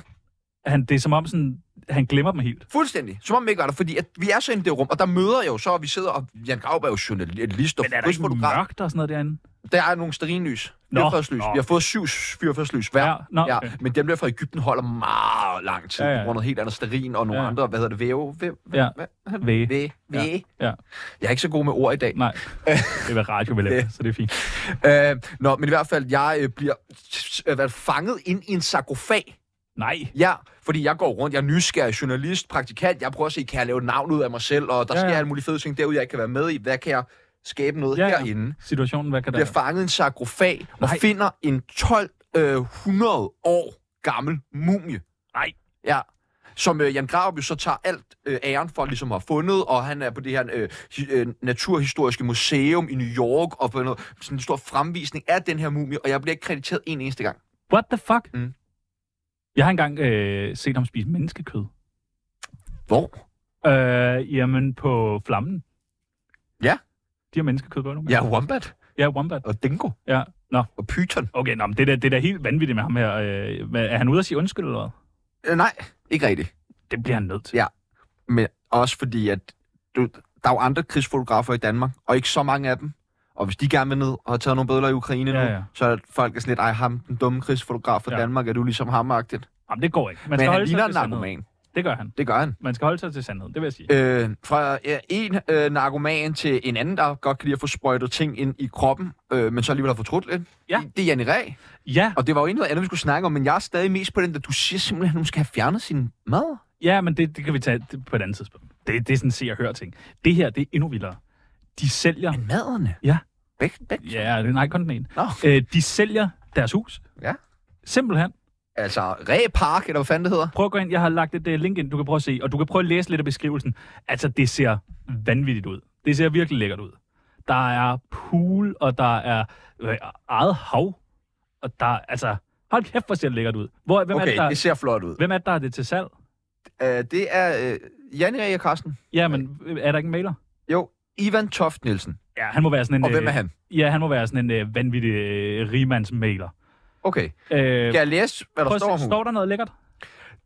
Speaker 2: han, det er som om, sådan, han glemmer dem helt.
Speaker 1: Fuldstændig. Som om vi ikke var der, fordi at vi er så inde i det rum, og der møder jeg jo så, og vi sidder, og Jan Graup er jo journalist og
Speaker 2: Men er der ikke
Speaker 1: krydsfotograf.
Speaker 2: mørkt og sådan noget derinde?
Speaker 1: Der er nogle sterinlys.
Speaker 2: Nå,
Speaker 1: Fyrfadslys.
Speaker 2: nå.
Speaker 1: Vi har fået syv fyrfadslys hver.
Speaker 2: Ja, nå, okay.
Speaker 1: Men dem der fra Ægypten holder meget lang tid,
Speaker 2: Ja,
Speaker 1: ja,
Speaker 2: ja.
Speaker 1: ja. på grund af noget helt andet sterin og nogle
Speaker 2: Ja.
Speaker 1: ja. andre, hvad hedder det, væve? Væv,
Speaker 2: Ja.
Speaker 1: Hvad?
Speaker 2: Væge.
Speaker 1: Væge. Væge.
Speaker 2: Ja,
Speaker 1: Jeg er ikke så god med ord i dag.
Speaker 2: øh, nej. Det var radio, vi lavede, så det er fint.
Speaker 1: Øh, nå, men i hvert fald, jeg øh, bliver øh, hvad, fanget ind i en sarkofag.
Speaker 2: Nej.
Speaker 1: Ja, fordi jeg går rundt, jeg er nysgerrig journalist, praktikant, jeg prøver at se, kan jeg lave et navn ud af mig selv, og der
Speaker 2: Ja,
Speaker 1: ja,
Speaker 2: ja.
Speaker 1: sker alle mulige fede ting derude, jeg ikke kan være med i. Hvad kan jeg skabe noget
Speaker 2: Ja,
Speaker 1: ja,
Speaker 2: ja.
Speaker 1: herinde?
Speaker 2: Situationen, hvad kan der...
Speaker 1: Bliver fanget i en sarkofag og
Speaker 2: Nej.
Speaker 1: finder en 1200 år gammel mumie.
Speaker 2: Nej.
Speaker 1: Ja. Som øh, Jan Graup jo så tager alt øh, æren for ligesom at have fundet, og han er på det her øh, hi- øh, naturhistoriske museum i New York, og på noget, sådan en stor fremvisning af den her mumie, og jeg bliver ikke krediteret en eneste gang.
Speaker 2: What the fuck?
Speaker 1: Mm.
Speaker 2: Jeg har engang øh, set ham spise menneskekød.
Speaker 1: Hvor?
Speaker 2: Øh, jamen, på flammen.
Speaker 1: Ja.
Speaker 2: De har menneskekød på nogle
Speaker 1: Jeg er Wombat
Speaker 2: gange. Ja, Wombat.
Speaker 1: og Dingo
Speaker 2: Ja, nå.
Speaker 1: og Python.
Speaker 2: Okay, nå, men det er da- det er da helt vanvittigt med ham her. Øh, hvad- er han ude at sige undskyld eller hvad?
Speaker 1: Øh, nej, ikke rigtigt.
Speaker 2: Det bliver han nødt til.
Speaker 1: Ja. Men også fordi, at du, der er jo andre krigsfotografer i Danmark, og ikke så mange af dem. Og hvis de gerne vil ned og har taget nogle billeder i Ukraine
Speaker 2: Ja,
Speaker 1: ja, nu,
Speaker 2: ja.
Speaker 1: ja. så er folk er sådan lidt, ej ham, den dumme krigsfotograf fra
Speaker 2: Ja.
Speaker 1: ja. Danmark, er du ligesom ham-agtigt.
Speaker 2: Jamen, det går ikke. Man
Speaker 1: Men han
Speaker 2: holde sig
Speaker 1: ligner
Speaker 2: til
Speaker 1: en
Speaker 2: sandheden.
Speaker 1: narkoman.
Speaker 2: Det gør han.
Speaker 1: Det gør han.
Speaker 2: Man skal holde sig til sandheden, det vil jeg sige.
Speaker 1: Øh, fra ja, en øh, narkoman til en anden, der godt kan lide at få sprøjtet ting ind i kroppen, øh, men så alligevel har fortrudt lidt.
Speaker 2: Ja.
Speaker 1: Det er Janne Ræ.
Speaker 2: Ja,
Speaker 1: Og det var jo ikke noget andet, vi skulle snakke om, men jeg er stadig mest på den, at du siger simpelthen, at hun skal have fjernet sin mad.
Speaker 2: ja men det, det kan vi tage på et andet tidspunkt. Det, det er sådan se og høre ting. Det her, det er endnu vildere. De sælger...
Speaker 1: Men maderne?
Speaker 2: Ja.
Speaker 1: Bæk, bæk.
Speaker 2: Ja, det- nej, kun den ene.
Speaker 1: Nå.
Speaker 2: Øh, de sælger deres hus.
Speaker 1: Ja.
Speaker 2: Simpelthen.
Speaker 1: Altså, Ræ Park, eller hvad fanden det hedder?
Speaker 2: Prøv at gå ind. Jeg har lagt et uh, link ind, du kan prøve at se. Og du kan prøve at læse lidt af beskrivelsen. Altså, det ser vanvittigt ud. Det ser virkelig lækkert ud. Der er pool, og der er øh, eget hav. Og der er- altså... Hold kæft, hvor ser det lækkert ud. Hvor, hvem, er
Speaker 1: Okay,
Speaker 2: det, der,
Speaker 1: det ser flot ud.
Speaker 2: hvem er det, der er det til salg?
Speaker 1: Uh, det er uh, Janne Ræger Karsten.
Speaker 2: Ja, men øh, er der ikke en mailer?
Speaker 1: Jo, Ivan Toft Nielsen.
Speaker 2: Ja, han må være sådan en...
Speaker 1: Og hvem er
Speaker 2: øh,
Speaker 1: han?
Speaker 2: Ja, han må være sådan en øh, vanvittig øh, rigmandsmaler.
Speaker 1: Okay.
Speaker 2: Øh,
Speaker 1: Kan jeg læse, hvad
Speaker 2: prøv
Speaker 1: der
Speaker 2: at
Speaker 1: står om
Speaker 2: se,
Speaker 1: hun?
Speaker 2: står der noget lækkert?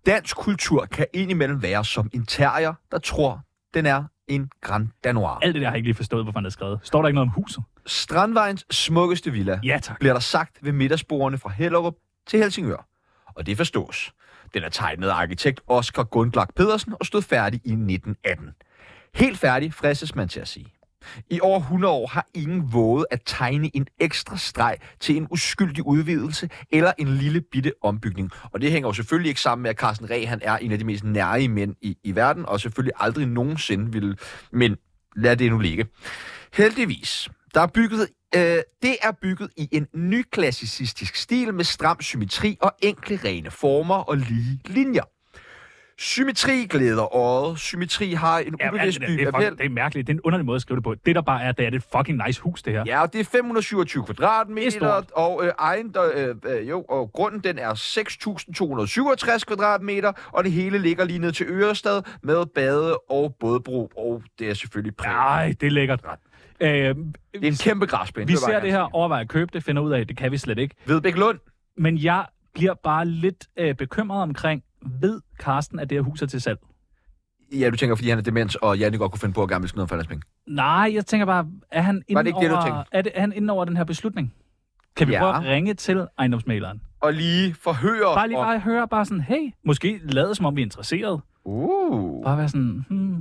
Speaker 1: Dansk kultur kan indimellem være som en terrier, der tror, den er en Grand Danois.
Speaker 2: Alt det der har jeg ikke lige forstået, hvorfor han er skrevet. Står der ikke noget om huset?
Speaker 1: Strandvejens smukkeste villa
Speaker 2: Ja, tak.
Speaker 1: bliver der sagt ved middagsbordene fra Hellerup til Helsingør. Og det forstås. Den er tegnet af arkitekt Oskar Gundlach Pedersen og stod færdig i 1918. Helt færdig fristes man til at sige. I over 100 år har ingen våget at tegne en ekstra streg til en uskyldig udvidelse eller en lille bitte ombygning. Og det hænger jo selvfølgelig ikke sammen med, at Carsten Reh han er en af de mest nære mænd i, i verden, og selvfølgelig aldrig nogensinde vil... Men lad det nu ligge. Heldigvis, der er bygget, øh, det er bygget i en nyklassicistisk stil med stram symmetri og enkle rene former og lige linjer. Symmetri glæder øjet. Symmetri har en
Speaker 2: Ja,
Speaker 1: ubevidst
Speaker 2: altså, det, det,
Speaker 1: dyb
Speaker 2: er
Speaker 1: appel.
Speaker 2: fucking, det er mærkeligt. Det er en underlig måde at skrive det på. Det, der bare er, det er det er et fucking nice hus, det her.
Speaker 1: Ja, og det er 527
Speaker 2: Det er
Speaker 1: kvadratmeter,
Speaker 2: stort.
Speaker 1: og, øh, egen, der, øh, øh, jo, og grunden den er 6.267 kvadratmeter, og det hele ligger lige ned til Ørestad med bade og bådbro, og det er selvfølgelig præg.
Speaker 2: Nej, det er lækkert. Øh,
Speaker 1: Det er en kæmpe græsplæne.
Speaker 2: vi ser det her, overvejer at købe det, finder ud af, at det kan vi slet ikke.
Speaker 1: Vedbæk Lund.
Speaker 2: Men jeg bliver bare lidt øh, bekymret omkring, ved Karsten, at det her hus er til salg?
Speaker 1: Ja, du tænker, fordi han er demens, og Janne godt kunne finde på at gerne vil snyde ham for hans penge.
Speaker 2: Nej, jeg tænker bare, er han inde,
Speaker 1: Var det ikke det, du
Speaker 2: over,
Speaker 1: tænkte?
Speaker 2: er det, er han inde over den her beslutning? Kan vi
Speaker 1: Ja.
Speaker 2: ja. prøve at ringe til ejendomsmaleren?
Speaker 1: Og lige forhøre...
Speaker 2: Bare lige
Speaker 1: om-
Speaker 2: bare høre bare sådan, hey, måske lade som om vi er interesseret.
Speaker 1: Uh.
Speaker 2: Bare være sådan, hmm.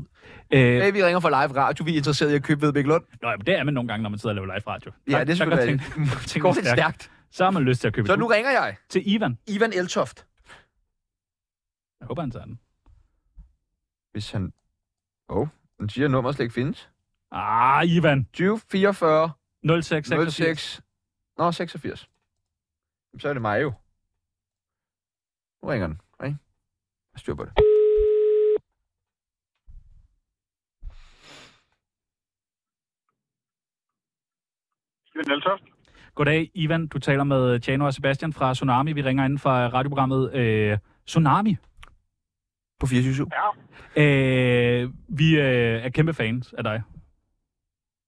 Speaker 2: Øh,
Speaker 1: Hey, vi ringer fra live radio. Vi er interesseret i at købe Vedbæk Lund.
Speaker 2: Nå, men det er man nogle gange, når man sidder og laver live radio.
Speaker 1: Ja,
Speaker 2: Der-
Speaker 1: det er
Speaker 2: der
Speaker 1: selvfølgelig
Speaker 2: går ting-
Speaker 1: Det
Speaker 2: ting
Speaker 1: går lidt stærkt.
Speaker 2: Så har man lyst til at købe
Speaker 1: Så
Speaker 2: et
Speaker 1: nu
Speaker 2: hus.
Speaker 1: ringer jeg.
Speaker 2: til Ivan.
Speaker 1: Ivan Eltoft.
Speaker 2: Jeg håber, han tager den.
Speaker 1: Hvis han... Åh, oh, han siger, at nummeret slet ikke findes.
Speaker 2: Ah, Ivan.
Speaker 1: 20, 44,
Speaker 2: 06, 06.
Speaker 1: 06. Nå, 86. Jamen, Så er det mig jo. Nu ringer den, ikke? Jeg styr på det.
Speaker 2: Goddag, Ivan. Du taler med Tjano og Sebastian fra Tsunami. Vi ringer inden fra radioprogrammet øh, Tsunami.
Speaker 1: På 24 ja.
Speaker 2: Øh, vi øh, er kæmpe fans af dig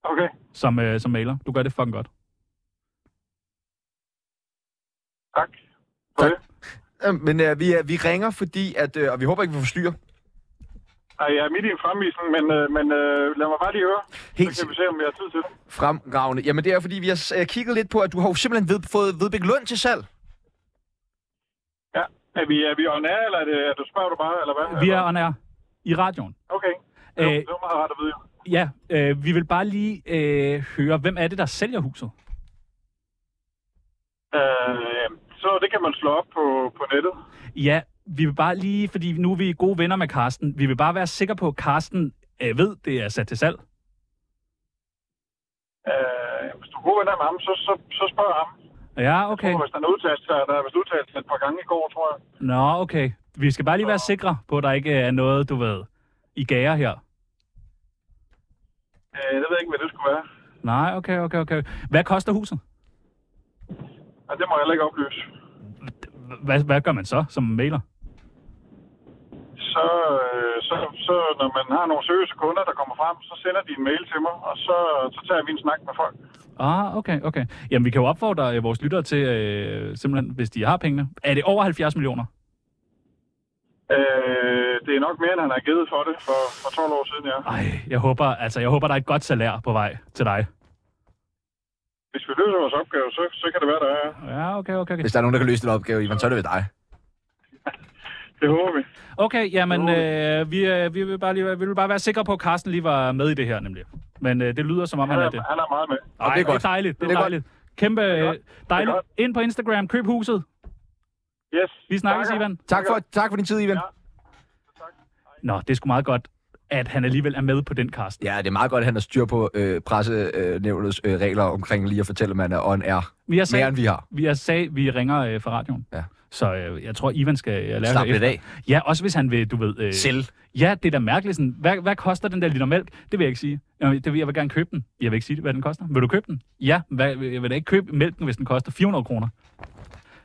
Speaker 11: Okay.
Speaker 2: som, øh, som maler. Du gør det fucking godt.
Speaker 11: Tak.
Speaker 1: Tak. Men øh, vi, øh, vi ringer, fordi at, øh, og vi håber ikke, vi forstyrrer.
Speaker 11: Ej, jeg er midt i en fremvisning, men, øh, men øh, lad mig bare lige høre.
Speaker 1: Helt
Speaker 11: Så kan vi se, om vi har tid til det.
Speaker 1: fremragende. Jamen, det er, fordi vi har øh, kigget lidt på, at du har jo simpelthen ved, fået Vedbæk Lund til salg.
Speaker 11: Ja. Er vi, er vi on air, eller er det, er du spørger du bare, eller hvad?
Speaker 2: Vi er
Speaker 11: Eller-
Speaker 2: on air i radioen.
Speaker 11: Okay. Jo,
Speaker 2: Øh,
Speaker 11: det var meget rart at vide. jo.
Speaker 2: Ja, øh, vi vil bare lige øh, høre, hvem er det, der sælger huset?
Speaker 11: Øh, jamen, så det kan man slå op på, på nettet.
Speaker 2: Ja, vi vil bare lige, fordi nu er vi gode venner med Karsten. Vi vil bare være sikre på, at Karsten øh, ved, det er sat til salg.
Speaker 11: Øh, hvis du er god venner med ham, så, så, så spørg ham.
Speaker 2: Ja, okay.
Speaker 11: Og hvis han har udtalt sig, der er vist udtalt sig et par gange i går, tror jeg.
Speaker 2: Nå, okay. Vi skal bare lige være sikre på, at der ikke er noget, du ved, i gager her.
Speaker 11: Øh, jeg ved ikke, hvad det skulle være.
Speaker 2: Nej, okay, okay, okay. Hvad koster huset?
Speaker 11: Og det må jeg heller ikke oplyse.
Speaker 2: Hvad, hvad gør man så som maler?
Speaker 11: Så, øh, så, så når man har nogle seriøse kunder, der kommer frem, så sender de en mail til mig, og så, så tager vi en snak med folk.
Speaker 2: Ah, okay, okay. Jamen, vi kan jo opfordre øh, vores lyttere til, øh, simpelthen, hvis de har pengene. Er det over 70 millioner?
Speaker 11: Øh, det er nok mere, end han har givet for det for, for 12 år siden, ja.
Speaker 2: Ej, jeg håber, altså, jeg håber, der er et godt salær på vej til dig.
Speaker 11: Hvis vi løser vores opgave, så, så kan det være, der er.
Speaker 2: Ja, okay, okay, okay.
Speaker 1: Hvis der er nogen, der kan løse den opgave, Ivan, så er det ved dig.
Speaker 11: Det håber vi.
Speaker 2: Okay, jamen, øh, vi, øh, vi, vil bare lige, vi vil bare være sikre på, at Carsten lige var med i det her, nemlig. Men øh, det lyder, som om han er det.
Speaker 11: Han er meget med.
Speaker 1: Og det er godt.
Speaker 2: Det er dejligt, det
Speaker 1: Det
Speaker 2: er
Speaker 1: er
Speaker 2: dejligt. Kæmpe øh, dejligt.
Speaker 11: godt.
Speaker 2: Ind på Instagram, køb huset.
Speaker 11: Yes.
Speaker 2: Vi snakkes,
Speaker 11: Takker.
Speaker 2: Ivan.
Speaker 1: Tak for, tak for din tid, Ivan.
Speaker 2: Nå, det er sgu meget godt, at han alligevel er med på den, Carsten.
Speaker 1: Ja, det er meget godt, at han har styr på øh, pressenævnets øh, regler omkring lige at fortælle, at man er on air.
Speaker 2: Vi
Speaker 1: Mere
Speaker 2: har
Speaker 1: end
Speaker 2: sagt,
Speaker 1: vi har.
Speaker 2: vi, har sagt, vi ringer øh, fra radioen.
Speaker 1: Ja.
Speaker 2: Så øh, jeg tror, Ivan skal øh, lære
Speaker 1: Slap
Speaker 2: det
Speaker 1: lidt af.
Speaker 2: Ja, også hvis han vil, du ved... Øh,
Speaker 1: Sælge.
Speaker 2: Ja, det er da mærkeligt. Sådan, hvad, hvad koster den der liter mælk? Det vil jeg ikke sige. Jamen, det vil, jeg vil gerne købe den. Jeg vil ikke sige, hvad den koster. Vil du købe den? Ja, hvad, jeg vil da ikke købe mælken, hvis den koster 400 kroner.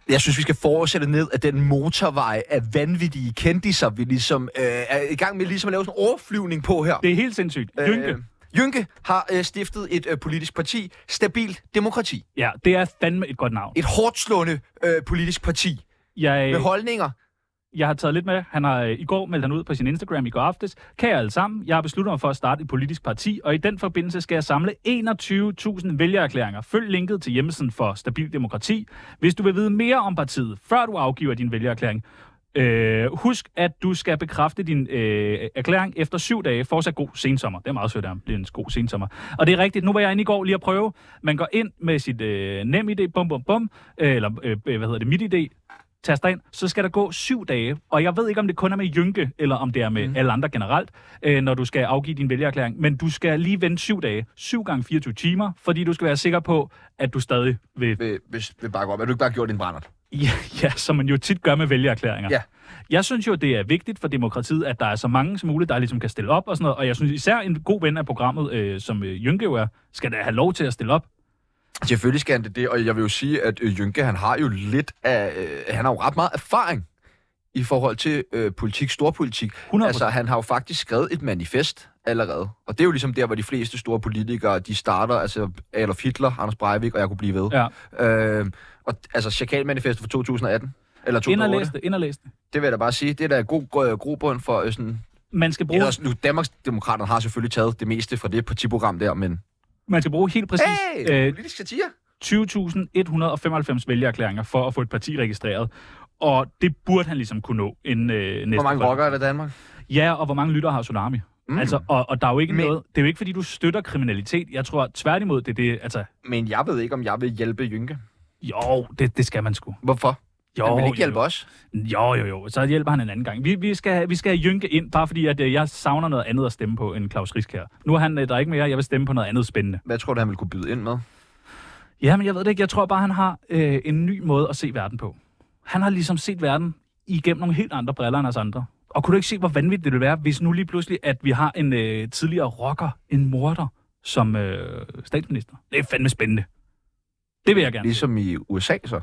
Speaker 1: Jeg synes, vi skal fortsætte ned af den motorvej af vanvittige kendiser, vi ligesom øh, er i gang med ligesom at lave sådan en overflyvning på her.
Speaker 2: Det er helt sindssygt. Øh... Jynke.
Speaker 1: Øh, Jynke har øh, stiftet et øh, politisk parti, Stabilt Demokrati.
Speaker 2: Ja, det er fandme et godt navn.
Speaker 1: Et hårdt slående øh, politisk parti
Speaker 2: Jeg,
Speaker 1: med holdninger.
Speaker 2: jeg har taget lidt med. Han har øh, i går meldt han ud på sin Instagram i går aftes. Kære alle sammen, jeg har besluttet mig for at starte et politisk parti, og i den forbindelse skal jeg samle 21.000 vælgererklæringer. Følg linket til hjemmesiden for Stabil Demokrati, hvis du vil vide mere om partiet, før du afgiver din vælgererklæring. Øh, husk, at du skal bekræfte din øh, erklæring efter syv dage. Fortsat god sensommer. Det er meget sødt af ham. Det er en god sensommer. Og det er rigtigt. Nu var jeg inde i går lige at prøve. Man går ind med sit øh, nem idé, bum bum bum, øh, eller øh, hvad hedder det, mit idé, taster ind, så skal der gå syv dage. Og jeg ved ikke, om det kun er med Jynke, eller om det er med mm. alle andre generelt, øh, når du skal afgive din vælgererklæring. Men du skal lige vente syv dage. 7 gange 24 timer, fordi du skal være sikker på, at du stadig vil...
Speaker 1: Vil, vil, vil bakke op. Er du ikke bare gjort din brændert?
Speaker 2: Ja, ja, som man jo tit gør med vælgererklæringer.
Speaker 1: Ja.
Speaker 2: Jeg synes jo, det er vigtigt for demokratiet, at der er så mange som muligt, der ligesom kan stille op og sådan noget. Og jeg synes især en god ven af programmet, øh, som øh, Jynke jo er, skal da have lov til at stille op.
Speaker 1: Selvfølgelig skal han det, det, og jeg vil jo sige, at øh, Jynke, han har jo lidt af, øh, han har jo ret meget erfaring i forhold til øh, politik, storpolitik.
Speaker 2: 100%.
Speaker 1: Altså, han har jo faktisk skrevet et manifest allerede, og det er jo ligesom der, hvor de fleste store politikere, de starter, altså Adolf Hitler, Anders Breivik, og jeg kunne blive ved. Ja. Øh, og altså, Chakalmanifestet fra 2018, eller
Speaker 2: Ind og
Speaker 1: 2008,
Speaker 2: læs det, ind og læs det.
Speaker 1: det vil jeg da bare sige, det er da en god gro- grobund for øh, sådan...
Speaker 2: Man skal bruge...
Speaker 1: Ellers, nu, Danmarksdemokraterne har selvfølgelig taget det meste fra det partiprogram der, men...
Speaker 2: Man skal bruge helt præcis
Speaker 1: Hey,
Speaker 2: øh,
Speaker 1: politisk satire!
Speaker 2: 20.195 vælgererklæringer for at få et parti registreret. Og det burde han ligesom kunne nå inden øh, næste
Speaker 1: Hvor mange
Speaker 2: valg.
Speaker 1: rockere er der i Danmark?
Speaker 2: Ja, og hvor mange lytter har Tsunami? Mm. Altså, og, og der er jo ikke Men... noget... Det er jo ikke, fordi du støtter kriminalitet. Jeg tror tværtimod, det er det... Altså,
Speaker 1: Men jeg ved ikke, om jeg vil hjælpe Jynke.
Speaker 2: jo, det, det skal man sgu.
Speaker 1: Hvorfor?
Speaker 2: Jo,
Speaker 1: Han vil ikke
Speaker 2: jo,
Speaker 1: hjælpe
Speaker 2: jo.
Speaker 1: os.
Speaker 2: Jo, jo, jo. Så hjælper han en anden gang. Vi, vi, skal, vi skal have Jynke ind, bare fordi at, øh, jeg savner noget andet at stemme på end Claus Risk her. Nu er han øh, der ikke mere. Jeg vil stemme på noget andet spændende.
Speaker 1: Hvad tror du, han vil kunne byde ind med?
Speaker 2: Jamen, jeg ved det ikke. Jeg tror bare, han har øh, en ny måde at se verden på. Han har ligesom set verden igennem nogle helt andre briller end os andre. Og kunne du ikke se, hvor vanvittigt det ville være, hvis nu lige pludselig, at vi har en øh, tidligere rocker, en morder, som øh, statsminister? Det er fandme spændende. Det vil jeg gerne.
Speaker 1: Ligesom i USA, så?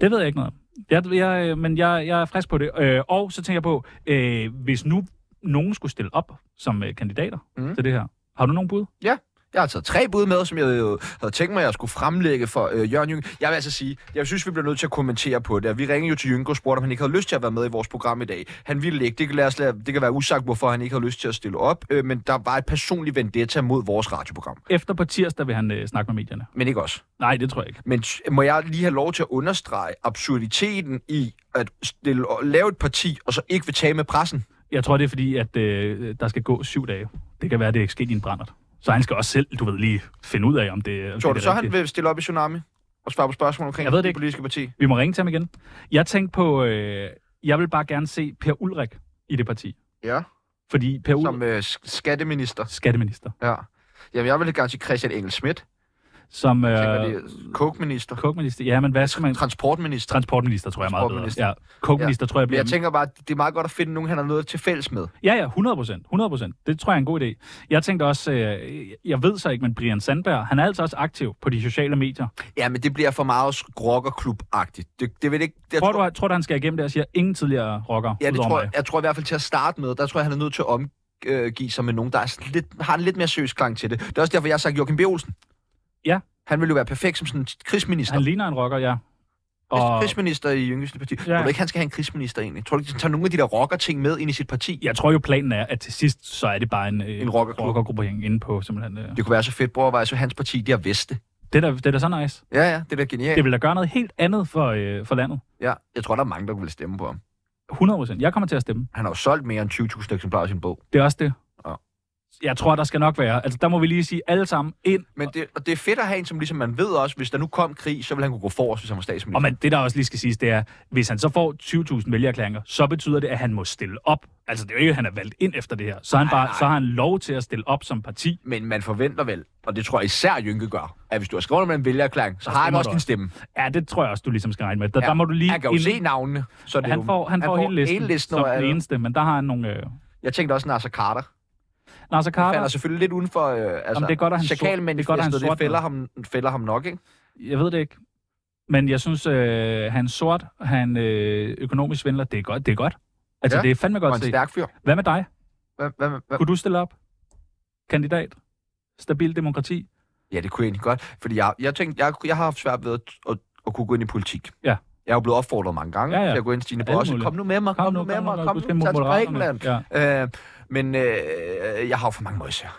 Speaker 2: Det ved jeg ikke noget om. Jeg, jeg, øh, men jeg, jeg er frisk på det. Øh, og så tænker jeg på, øh, hvis nu nogen skulle stille op som øh, kandidater
Speaker 1: Mm.
Speaker 2: mm. til det her. Har du nogen bud?
Speaker 1: Ja. Jeg har taget tre bud med, som jeg øh, havde tænkt mig, at jeg skulle fremlægge for øh, Jørgen Jynke. Jeg vil altså sige, jeg synes, vi bliver nødt til at kommentere på det. Og Vi ringede jo til Jynke og spurgte, om han ikke havde lyst til at være med i vores program i dag. Han ville ikke. Det kan, lade os lade, det kan være usagt, hvorfor han ikke havde lyst til at stille op. Øh, men der var et personligt vendetta mod vores radioprogram.
Speaker 2: Efter på tirsdag vil han øh, snakke med medierne.
Speaker 1: Men ikke os.
Speaker 2: Nej, det tror jeg ikke.
Speaker 1: Men s- må jeg lige have lov til at understrege absurditeten i at stille, lave et parti, og så ikke vil tage med pressen?
Speaker 2: Jeg tror, det er fordi, at øh, der skal gå syv dage. Det kan være, det ikke sket i en brændert. Så han skal også selv, du ved, lige finde ud af, om det, om
Speaker 1: Tror
Speaker 2: det
Speaker 1: du
Speaker 2: er
Speaker 1: så, han
Speaker 2: rigtigt.
Speaker 1: vil stille op i Tsunami og svare på spørgsmål omkring
Speaker 2: Jeg ved det
Speaker 1: det
Speaker 2: ikke.
Speaker 1: politiske parti?
Speaker 2: Vi må ringe til ham igen. Jeg tænkte på, øh, jeg vil bare gerne se Per Ulrik i det parti.
Speaker 1: Ja.
Speaker 2: Fordi Per Ulrik,
Speaker 1: Som øh, sk- skatteminister.
Speaker 2: skatteminister,
Speaker 1: Ja. Jamen, jeg vil gerne sige Christian Engel Schmidt.
Speaker 2: som øh,
Speaker 1: Øh, Kokminister.
Speaker 2: kokminister, ja, men hvad skal man...
Speaker 1: Transportminister.
Speaker 2: Transportminister, tror jeg er meget bedre.
Speaker 1: Transportminister.
Speaker 2: Ja, kokminister, tror jeg
Speaker 1: Men
Speaker 2: bliver...
Speaker 1: jeg tænker bare, at det er meget godt at finde nogen, han har noget til fælles med.
Speaker 2: Ja, ja, 100 procent. 100 procent. Det tror jeg er en god idé. Jeg tænkte også, øh, jeg ved så ikke, men Brian Sandberg, han er altså også aktiv på de sociale medier.
Speaker 1: Ja, men det bliver for meget rockerklub-agtigt. Det, det vil ikke... Jeg
Speaker 2: Tror, tror, du, tror du, han skal igennem det og siger, ingen tidligere rocker
Speaker 1: Ja, det
Speaker 2: udover
Speaker 1: tror
Speaker 2: mig?
Speaker 1: jeg, jeg tror i hvert fald til at starte med, der tror jeg, han er nødt til at omgive sig med nogen, der er sådan lidt, har en lidt mere seriøs klang til det. Det er også derfor, jeg har sagt Joachim B. Olsen.
Speaker 2: Ja.
Speaker 1: Han ville jo være perfekt som sådan en krigsminister.
Speaker 2: Han ligner en rocker, ja.
Speaker 1: Og...
Speaker 2: Og
Speaker 1: Krigsminister i Jyngeste Parti. Ja. Tror du ikke, han skal have en krigsminister egentlig? Tror du ikke, han tager nogle af de der rocker-ting med ind i sit parti?
Speaker 2: jeg tror jo, planen er, at til sidst, så er det bare en, øh,
Speaker 1: En rockerklub.
Speaker 2: rockergruppering inde på, simpelthen. Øh.
Speaker 1: Det kunne være så fedt, bror, var så hans parti, de har veste.
Speaker 2: Det, er da, det er da så nice.
Speaker 1: Ja, ja, det er da genialt.
Speaker 2: Det vil da gøre noget helt andet for, øh, for landet.
Speaker 1: Ja, jeg tror, der er mange, der vil stemme på ham.
Speaker 2: 100 procent. Jeg kommer til at stemme.
Speaker 1: Han har jo solgt mere end 20.000 eksemplarer af sin bog.
Speaker 2: Det er også det.
Speaker 1: Ja.
Speaker 2: Jeg tror, der skal nok være. Altså, der må vi lige sige alle sammen ind.
Speaker 1: Men det, og det er fedt at have en, som ligesom man ved også, hvis der nu kom krig, så vil han kunne gå forrest, hvis han var statsminister.
Speaker 2: Og man, det, der også lige skal siges, det er, hvis han så får 20.000 vælgerklæringer, så betyder det, at han må stille op. Altså, det er jo ikke, at han er valgt ind efter det her. Så, er han bare, så har han lov til at stille op som parti.
Speaker 1: Men man forventer vel, og det tror jeg især Jynke gør, at hvis du har skrevet med en vælgererklæring, så har han
Speaker 2: stemmer
Speaker 1: også
Speaker 2: du
Speaker 1: din
Speaker 2: også.
Speaker 1: stemme.
Speaker 2: Ja, det tror jeg også, du ligesom skal regne med. Der,
Speaker 1: Ja,
Speaker 2: ja, der må du lige
Speaker 1: han kan jo se navnene, så det er
Speaker 2: han
Speaker 1: jo-
Speaker 2: får, han,
Speaker 1: han
Speaker 2: får,
Speaker 1: får
Speaker 2: hele listen,
Speaker 1: hele listen
Speaker 2: som
Speaker 1: over
Speaker 2: den
Speaker 1: alle.
Speaker 2: eneste, men der har han nogle... Øh...
Speaker 1: Jeg tænkte også Nasser Carter.
Speaker 2: Nasser
Speaker 1: Han
Speaker 2: Carter,
Speaker 1: falder selvfølgelig lidt udenfor. Øh, altså,
Speaker 2: Jamen, det er godt, at han er sort. Det er godt, at han er
Speaker 1: chakalmanifestet, det
Speaker 2: sort
Speaker 1: fælder
Speaker 2: nu.
Speaker 1: ham, fælder ham nok, ikke?
Speaker 2: jeg ved det ikke. Men jeg synes, øh, han er sort, han øh, økonomisk svindler, det er godt. Det er godt. Altså,
Speaker 1: Ja,
Speaker 2: ja, det er fandme
Speaker 1: Og
Speaker 2: godt
Speaker 1: en
Speaker 2: set.
Speaker 1: stærk fyr.
Speaker 2: Hvad med dig?
Speaker 1: Hvad, hvad, hvad?
Speaker 2: Kunne du stille op? Kandidat? Stabil demokrati?
Speaker 1: Ja, det kunne jeg egentlig godt. Fordi jeg, jeg tænkte, jeg, jeg har haft svært ved at, at, at kunne gå ind i politik.
Speaker 2: Ja.
Speaker 1: Jeg er jo blevet opfordret mange gange
Speaker 2: Ja, ja.
Speaker 1: til at gå ind i Stine
Speaker 2: Alle
Speaker 1: Bosse.
Speaker 2: mulige.
Speaker 1: Kom nu med mig, kom, nu med mig, kom
Speaker 2: du
Speaker 1: nu
Speaker 2: skal
Speaker 1: med
Speaker 2: mod
Speaker 1: mig til
Speaker 2: Moderaterne.
Speaker 1: Grækenland.
Speaker 2: Ja.
Speaker 1: Øh, men øh, jeg har jo for mange møjsager.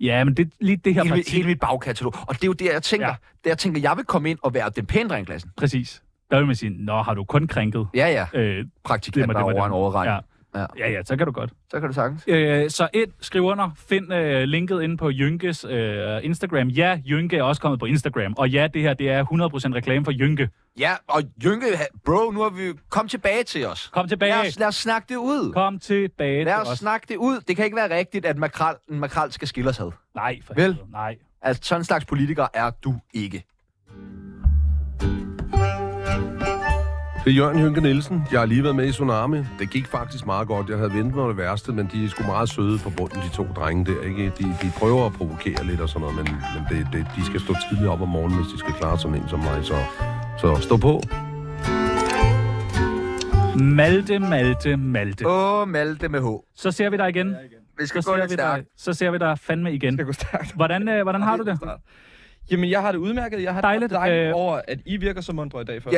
Speaker 2: ja, men det, lige det her
Speaker 1: hele, mit,
Speaker 2: parti.
Speaker 1: hele mit bagkatalog. Og det er jo det, jeg tænker. Ja.
Speaker 2: Ja.
Speaker 1: Det, jeg tænker, jeg vil komme ind og være den pæne dreng i klassen.
Speaker 2: Præcis. der vil man sige, nå, har du kun krænket?
Speaker 1: Ja, ja.
Speaker 2: Øh,
Speaker 1: Praktikanter
Speaker 2: det var
Speaker 1: over
Speaker 2: dem.
Speaker 1: en årrække.
Speaker 2: Ja.
Speaker 1: Ja.
Speaker 2: ja, ja, så kan du godt.
Speaker 1: Så kan du sagtens.
Speaker 2: Øh, så ind, skriv under, find øh, linket inde på Jynkes øh, Instagram. Ja, Jynke er også kommet på Instagram. Og ja, det her det er 100% reklame for Jynke.
Speaker 1: Ja, og Jynke, ha- bro, nu har vi jo- Kom tilbage til os.
Speaker 2: Kom tilbage.
Speaker 1: Lad os, lad os snakke det ud.
Speaker 2: Kom tilbage
Speaker 1: Lad
Speaker 2: til
Speaker 1: os,
Speaker 2: os.
Speaker 1: snakke det ud. Det kan ikke være rigtigt, at makrel, en makrel skal skille os ad.
Speaker 2: Nej, for
Speaker 1: Vel?
Speaker 2: helvede, nej.
Speaker 1: Altså, sådan en slags politiker er du ikke.
Speaker 12: Det er Jørgen Hynke Nielsen. Jeg har lige været med i Tsunami. Det gik faktisk meget godt. Jeg havde ventet mig det værste, men de er sgu meget søde på bunden, de to drenge der. Ikke? De, de prøver at provokere lidt og sådan noget, men, men det, det, de skal stå tidligt op om morgenen, hvis de skal klare sådan en som mig. Så, så stå på.
Speaker 2: Malte, Malte, Malte.
Speaker 1: Åh, oh, Malte med H.
Speaker 2: Så ser vi dig igen.
Speaker 1: Vi
Speaker 2: skal så gå lidt stærkt. Så ser vi dig fandme igen. Skal
Speaker 13: gå stærkt.
Speaker 2: Hvordan, øh, hvordan har du det?
Speaker 13: Jamen, jeg har det udmærket. Jeg har
Speaker 2: Dejligt.
Speaker 13: det dejligt
Speaker 2: Øh,
Speaker 13: over, at I virker så mundre i dag. For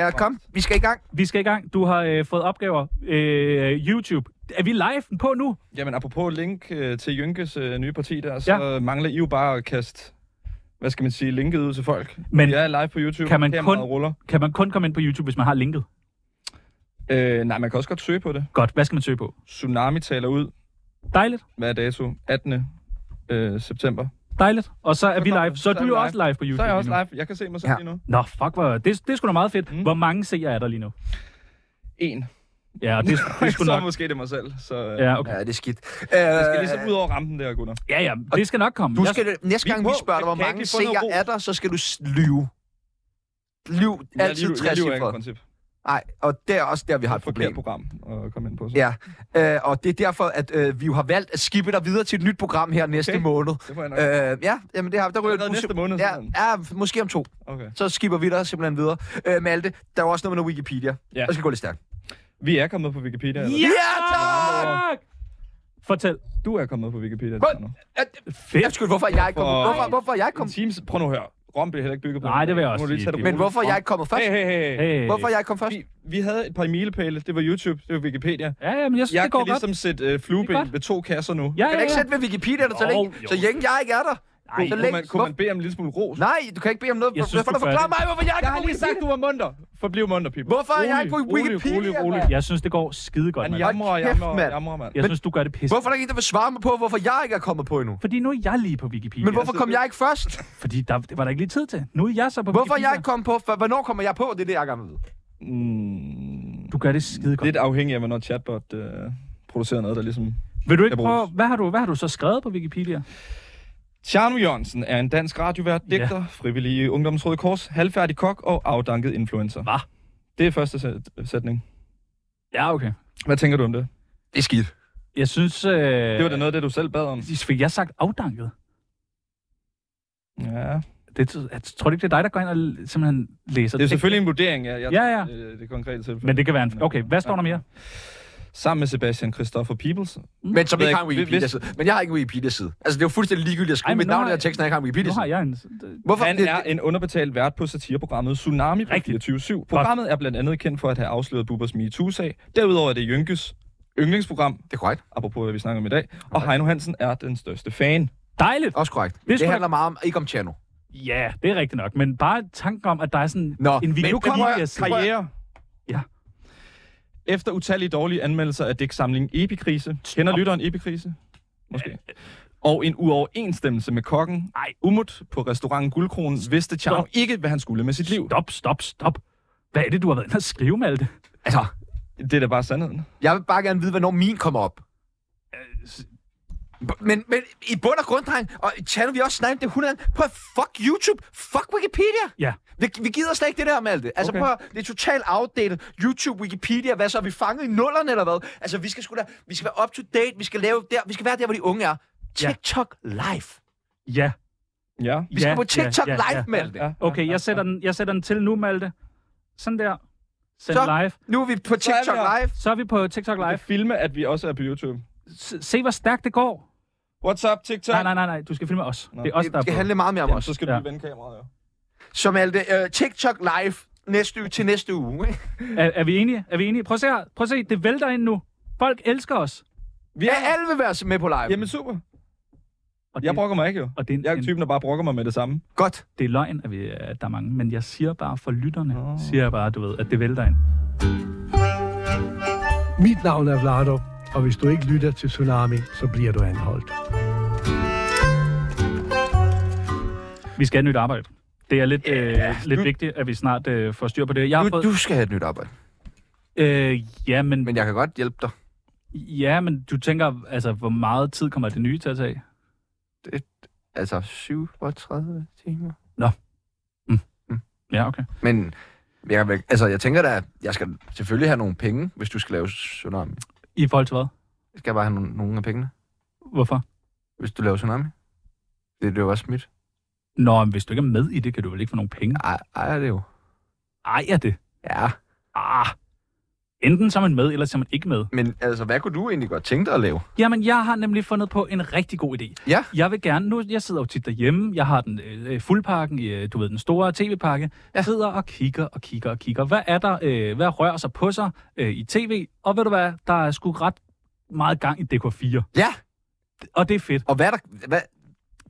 Speaker 1: Vi skal i gang.
Speaker 2: Vi skal i gang. Du har øh, fået opgaver. Øh, YouTube. Er vi live på nu?
Speaker 13: Jamen, apropos link øh, til Jynkes øh, nye parti der, så ja. mangler I jo bare at kaste, hvad skal man sige, linket ud til folk.
Speaker 2: Men
Speaker 13: jeg er live på YouTube.
Speaker 2: Kan man, kun,
Speaker 13: kameraet ruller.
Speaker 2: kan man kun komme ind på YouTube, hvis man har linket?
Speaker 13: Øh, nej, man kan også godt søge på det.
Speaker 2: Godt. Hvad skal man søge på?
Speaker 13: Tsunami taler ud.
Speaker 2: Dejligt.
Speaker 13: Hvad er dato? 18. Øh, september.
Speaker 2: Dejligt. Og så er vi
Speaker 13: kommer
Speaker 2: live.
Speaker 13: det.
Speaker 2: Så er du
Speaker 13: vi
Speaker 2: jo også live på YouTube
Speaker 13: Så er jeg også
Speaker 2: lige nu.
Speaker 13: live. Jeg kan se mig selv ja. lige nu.
Speaker 2: Nå, fuck, hvor, det, det er sgu da meget fedt. Mm. Hvor mange seere er der lige nu?
Speaker 13: En.
Speaker 2: Ja, og det, det er sgu
Speaker 13: så
Speaker 2: nok...
Speaker 13: måske det er mig selv. Så, øh,
Speaker 2: Ja, okay.
Speaker 1: Ja, det er skidt. Øh,
Speaker 13: Jeg skal ligesom ud over rampen der, Gunnar.
Speaker 2: Ja, ja, det skal nok komme.
Speaker 1: Du
Speaker 2: Jeg-
Speaker 1: skal, næste
Speaker 13: Vi er
Speaker 1: gang
Speaker 13: på.
Speaker 1: vi spørger dig, hvor
Speaker 13: Kan jeg ikke
Speaker 1: mange
Speaker 13: lige få noget
Speaker 1: seere er der, så skal du s- lyve. Lyv,
Speaker 13: Jeg
Speaker 1: altid
Speaker 13: lyver- jeg lyver ikke, i
Speaker 1: træsiffret.
Speaker 13: princip.
Speaker 1: Nej, og det er også der, vi har et problem.
Speaker 13: Forkert program at komme ind på. Så.
Speaker 1: Ja, øh, og det er derfor, at øh, vi jo har valgt at skippe dig videre til et nyt program her næste
Speaker 13: Okay.
Speaker 1: måned.
Speaker 13: Det får jeg nok.
Speaker 1: Øh, ja, jamen det har, der ryger
Speaker 13: Allerede
Speaker 1: du-
Speaker 13: næste måned,
Speaker 1: Ja,
Speaker 13: simpelthen.
Speaker 1: ja, måske om to.
Speaker 13: Okay.
Speaker 1: Så skipper vi dig simpelthen videre. Øh, Malte, der er jo også noget med noget Wikipedia.
Speaker 13: Ja.
Speaker 1: Der skal gå lidt stærkt.
Speaker 13: Vi er kommet på Wikipedia. Eller?
Speaker 1: Ja, tak!
Speaker 2: Fortæl.
Speaker 13: Du er kommet på Wikipedia.
Speaker 1: Hvor-
Speaker 13: Hvor?
Speaker 2: Fedt.
Speaker 1: Jeg skulle, hvorfor er jeg ikke kommet?
Speaker 13: Hvorfor-
Speaker 1: Hvorfor, hvorfor er jeg ikke kommet?
Speaker 13: Teams, prøv nu at høre. Rom bliver heller ikke bygget på.
Speaker 2: Nej, det vil jeg også
Speaker 13: Nu må du lige
Speaker 2: sige.
Speaker 13: tage det
Speaker 1: Men
Speaker 13: roligt.
Speaker 1: hvorfor er jeg ikke kommet først?
Speaker 13: Hey, hey, hey. hey.
Speaker 2: Hey.
Speaker 1: Hvorfor er jeg ikke kommet først?
Speaker 13: Vi, vi havde et par milepæle. Det var YouTube, det var Wikipedia.
Speaker 2: Ja, ja, men jeg synes,
Speaker 13: Jeg
Speaker 2: det går
Speaker 13: kan ligesom
Speaker 2: godt.
Speaker 13: sætte øh,
Speaker 2: Det er
Speaker 13: flueben
Speaker 2: godt.
Speaker 13: ved to kasser nu.
Speaker 2: Ja,
Speaker 1: Jeg kan
Speaker 2: ja,
Speaker 1: ikke
Speaker 2: ja.
Speaker 1: sætte ved Wikipedia, der så
Speaker 2: Jo,
Speaker 1: længe,
Speaker 2: jo.
Speaker 1: så længe jeg ikke er der.
Speaker 2: Nej,
Speaker 1: så
Speaker 13: Kunne
Speaker 1: længe-
Speaker 13: man, kunne man bede om en lille smule ros?
Speaker 1: Nej, du kan ikke bede om noget.
Speaker 2: Jeg synes,
Speaker 1: Hvorfor
Speaker 2: du gør
Speaker 1: forklare
Speaker 2: det.
Speaker 1: mig, hvorfor jeg ikke
Speaker 13: Jeg
Speaker 1: er
Speaker 13: har
Speaker 1: på
Speaker 13: lige sagt, du var munter. Forbliv munter, Pippi.
Speaker 1: Hvorfor er jeg ikke på
Speaker 13: Rolig, rolig,
Speaker 1: Wikipedia,
Speaker 13: Rolig, rolig,
Speaker 1: mand?
Speaker 2: Jeg synes, det går skide godt,
Speaker 13: Han
Speaker 2: mand.
Speaker 13: jamrer,
Speaker 1: Hold kæft,
Speaker 13: jamrer,
Speaker 1: mand.
Speaker 13: jamrer, mand.
Speaker 2: Jeg synes, du gør det pisse.
Speaker 1: Hvorfor er der ikke en, der vil svare mig på, hvorfor jeg ikke er kommet på endnu?
Speaker 2: Fordi nu er jeg lige på Wikipedia.
Speaker 1: Men hvorfor kom jeg ikke først?
Speaker 2: Fordi der, det var der ikke lige tid til. Nu er jeg så på
Speaker 1: Hvorfor er
Speaker 2: Wikipedia.
Speaker 1: jeg ikke kommet på? For- Hvornår kommer jeg på? Det er det, jeg gerne vil vide.
Speaker 13: Mm,
Speaker 2: Du gør det skide godt.
Speaker 13: lidt afhængig af, hvornår chatbot øh, producerer noget, der ligesom...
Speaker 2: Vil du ikke
Speaker 13: Jeg
Speaker 2: prøve...
Speaker 13: bruges.
Speaker 2: Hvad har, du, hvad har du så skrevet på Wikipedia?
Speaker 13: Tjerno Jørgensen er en dansk radiovært, digter, ja. frivillig i Ungdommens Røde Kors, halvfærdig kok og afdanket influencer.
Speaker 2: Hva?
Speaker 13: Det er første sæt- sætning.
Speaker 2: Ja, okay.
Speaker 13: Hvad tænker du om det?
Speaker 1: Det er
Speaker 13: Mm.
Speaker 1: skidt.
Speaker 2: Jeg synes... Øh...
Speaker 13: Det var da noget af det, du selv bad om.
Speaker 2: Fik jeg sagt afdanket?
Speaker 13: Ja.
Speaker 2: Det, jeg tror du ikke, det er dig, der går ind og l- simpelthen læser
Speaker 13: Det er
Speaker 2: teksten?
Speaker 13: selvfølgelig en vurdering af jeg,
Speaker 2: Ja, ja.
Speaker 13: Øh, det konkrete tilfælde.
Speaker 2: Men det kan være en... Okay, hvad står der mere?
Speaker 13: Sammen med Sebastian Christoffer Peoples.
Speaker 1: Men som
Speaker 13: Ved
Speaker 1: ikke
Speaker 13: jeg
Speaker 1: har en
Speaker 13: ikke, hvis-
Speaker 1: Wikipedia-side. Men jeg har ikke en Wikipedia-side. Altså, det er jo fuldstændig ligegyldigt at
Speaker 2: Ej,
Speaker 1: skrive
Speaker 2: men
Speaker 1: mit
Speaker 2: nu
Speaker 1: navn
Speaker 2: har
Speaker 1: i den
Speaker 2: jeg-
Speaker 1: tekst, når jeg ikke har en
Speaker 2: Nu har
Speaker 1: Wikipedia-side.
Speaker 2: jeg en...
Speaker 1: Hvorfor?
Speaker 13: Han
Speaker 1: det,
Speaker 13: er en underbetalt vært på satireprogrammet Tsunami på
Speaker 2: Rigtigt.
Speaker 13: 24 Programmet er blandt andet kendt for at have afsløret Bubbers MeToo-sag. Derudover er det Jynkes yndlingsprogram,
Speaker 1: det er korrekt.
Speaker 13: apropos hvad vi snakker om i dag. Og Heino Hansen er den største fan.
Speaker 2: Dejligt!
Speaker 1: Også korrekt.
Speaker 2: Det er
Speaker 1: Det,
Speaker 2: sgu
Speaker 1: det
Speaker 2: da-
Speaker 1: handler meget om, ikke om Tjerno.
Speaker 2: Ja, det er rigtigt nok. Men bare tanken om, at der er sådan
Speaker 1: Nå,
Speaker 2: en
Speaker 1: men nu kommer jeg-
Speaker 2: Wikipedia-side.
Speaker 13: Karriere.
Speaker 2: Ja.
Speaker 13: Efter utallige dårlige anmeldelser af digtsamlingen Epikrise. Kender lytteren Epikrise? Måske. Og en uoverensstemmelse med kokken
Speaker 2: Ej.
Speaker 13: Umut på restauranten Guldkronen vidste Tjerno
Speaker 2: Stop.
Speaker 13: ikke, hvad han skulle med sit liv.
Speaker 2: Stop, stop, stop. Hvad er det, du har været inde og skrive, Malte?
Speaker 1: Altså,
Speaker 13: Det er da bare sandheden.
Speaker 1: jeg vil bare gerne vide, hvornår min kommer op. Men, men i bund og grund, dreng, og Tjerno, vi har også snakket om det 100 gange. Prøv at fuck YouTube. Fuck Wikipedia.
Speaker 2: Ja.
Speaker 1: Vi, vi gider slet ikke det der, Malte. Altså, okay.
Speaker 13: Okay.
Speaker 1: prøv, at- det er totalt outdated. YouTube, Wikipedia, hvad så? Er vi fanget i nullerne, eller hvad? Altså, vi skal, sgu da, vi skal være up to date. Vi skal, lave der, vi skal være der, hvor de unge er.
Speaker 2: Ja.
Speaker 1: TikTok live.
Speaker 2: Ja.
Speaker 13: Ja.
Speaker 1: Vi skal
Speaker 2: ja,
Speaker 1: på TikTok
Speaker 2: ja, ja,
Speaker 1: live,
Speaker 2: ja.
Speaker 1: Malte.
Speaker 2: Okay, jeg sætter, den, jeg sætter den til nu, Malte. Sådan der. Send
Speaker 1: Så.
Speaker 2: live.
Speaker 1: Nu er vi på
Speaker 13: Så er vi
Speaker 1: TikTok
Speaker 13: der.
Speaker 1: live.
Speaker 2: Så er vi på TikTok
Speaker 13: Live.
Speaker 2: live.
Speaker 13: Filme, at vi også er på YouTube.
Speaker 2: S- se, hvor stærkt det går.
Speaker 13: What's up, TikTok?
Speaker 2: Nej, nej, nej, nej. Du skal filme os.
Speaker 13: Nå.
Speaker 2: Det er os, der
Speaker 1: Det skal
Speaker 2: er på.
Speaker 1: handle meget mere om
Speaker 13: Jamen,
Speaker 1: os.
Speaker 13: så skal du
Speaker 2: Ja.
Speaker 13: lige vende kameraet, jo.
Speaker 1: Så Malte, øh, TikTok live næste uge til næste uge. ikke?
Speaker 2: Er, er, vi enige? Er vi enige? Prøv at se her. Prøv at se. Det vælter ind nu. Folk elsker os.
Speaker 1: Vi er alle vil være med på live.
Speaker 13: Jamen, super.
Speaker 2: Og
Speaker 13: jeg brokker mig ikke jo. Og det er en, jeg er typen, der bare brokker mig med det samme.
Speaker 1: Godt.
Speaker 2: Det er løgn, at, vi, at der er mange. Men jeg siger bare for lytterne, oh. siger jeg bare, du ved, at det vælter ind.
Speaker 14: Mit navn er Vlado, og hvis du ikke lytter til Tsunami, så bliver du anholdt.
Speaker 2: Vi skal have nyt arbejde. Det er lidt, yeah. øh, lidt vigtigt, at vi snart øh, får styr på det. Jeg har
Speaker 1: Du,
Speaker 2: fået,
Speaker 1: du skal have et nyt arbejde.
Speaker 2: Øh, ja, men...
Speaker 1: Men jeg kan godt hjælpe dig.
Speaker 2: Ja, men du tænker, altså, hvor meget tid kommer det nye til at tage?
Speaker 1: Det, altså, 37 timer.
Speaker 2: Nå. Mm. Mm. Ja, okay.
Speaker 1: Men jeg, vil- altså, jeg tænker da, jeg skal selvfølgelig have nogle penge, hvis du skal lave tsunami.
Speaker 2: I forhold til hvad?
Speaker 1: Skal jeg bare have nogle, nogle af pengene,
Speaker 2: Hvorfor?
Speaker 1: hvis du laver tsunami? Det, det er jo også mit.
Speaker 2: Nå, men hvis du ikke er med i det, kan du vel ikke få nogle penge?
Speaker 1: Ej, ejer det jo.
Speaker 2: Ejer det?
Speaker 1: Ja.
Speaker 2: Ah. Enten så er man med, eller så er man ikke med.
Speaker 1: Men altså, hvad kunne du egentlig godt tænke dig at lave?
Speaker 2: Jamen, jeg har nemlig fundet på en rigtig god idé.
Speaker 1: Ja.
Speaker 2: Jeg vil gerne, nu jeg sidder jo tit derhjemme, jeg har den øh, fuldpakken, i, øh, du ved, den store tv-pakke, ja. sidder og kigger og kigger og kigger. Hvad er der, øh, hvad rører sig på sig øh, i tv? Og ved du hvad, der er sgu ret meget gang i DK4.
Speaker 1: Ja.
Speaker 2: Og det er fedt.
Speaker 1: Og hvad er der... Hvad,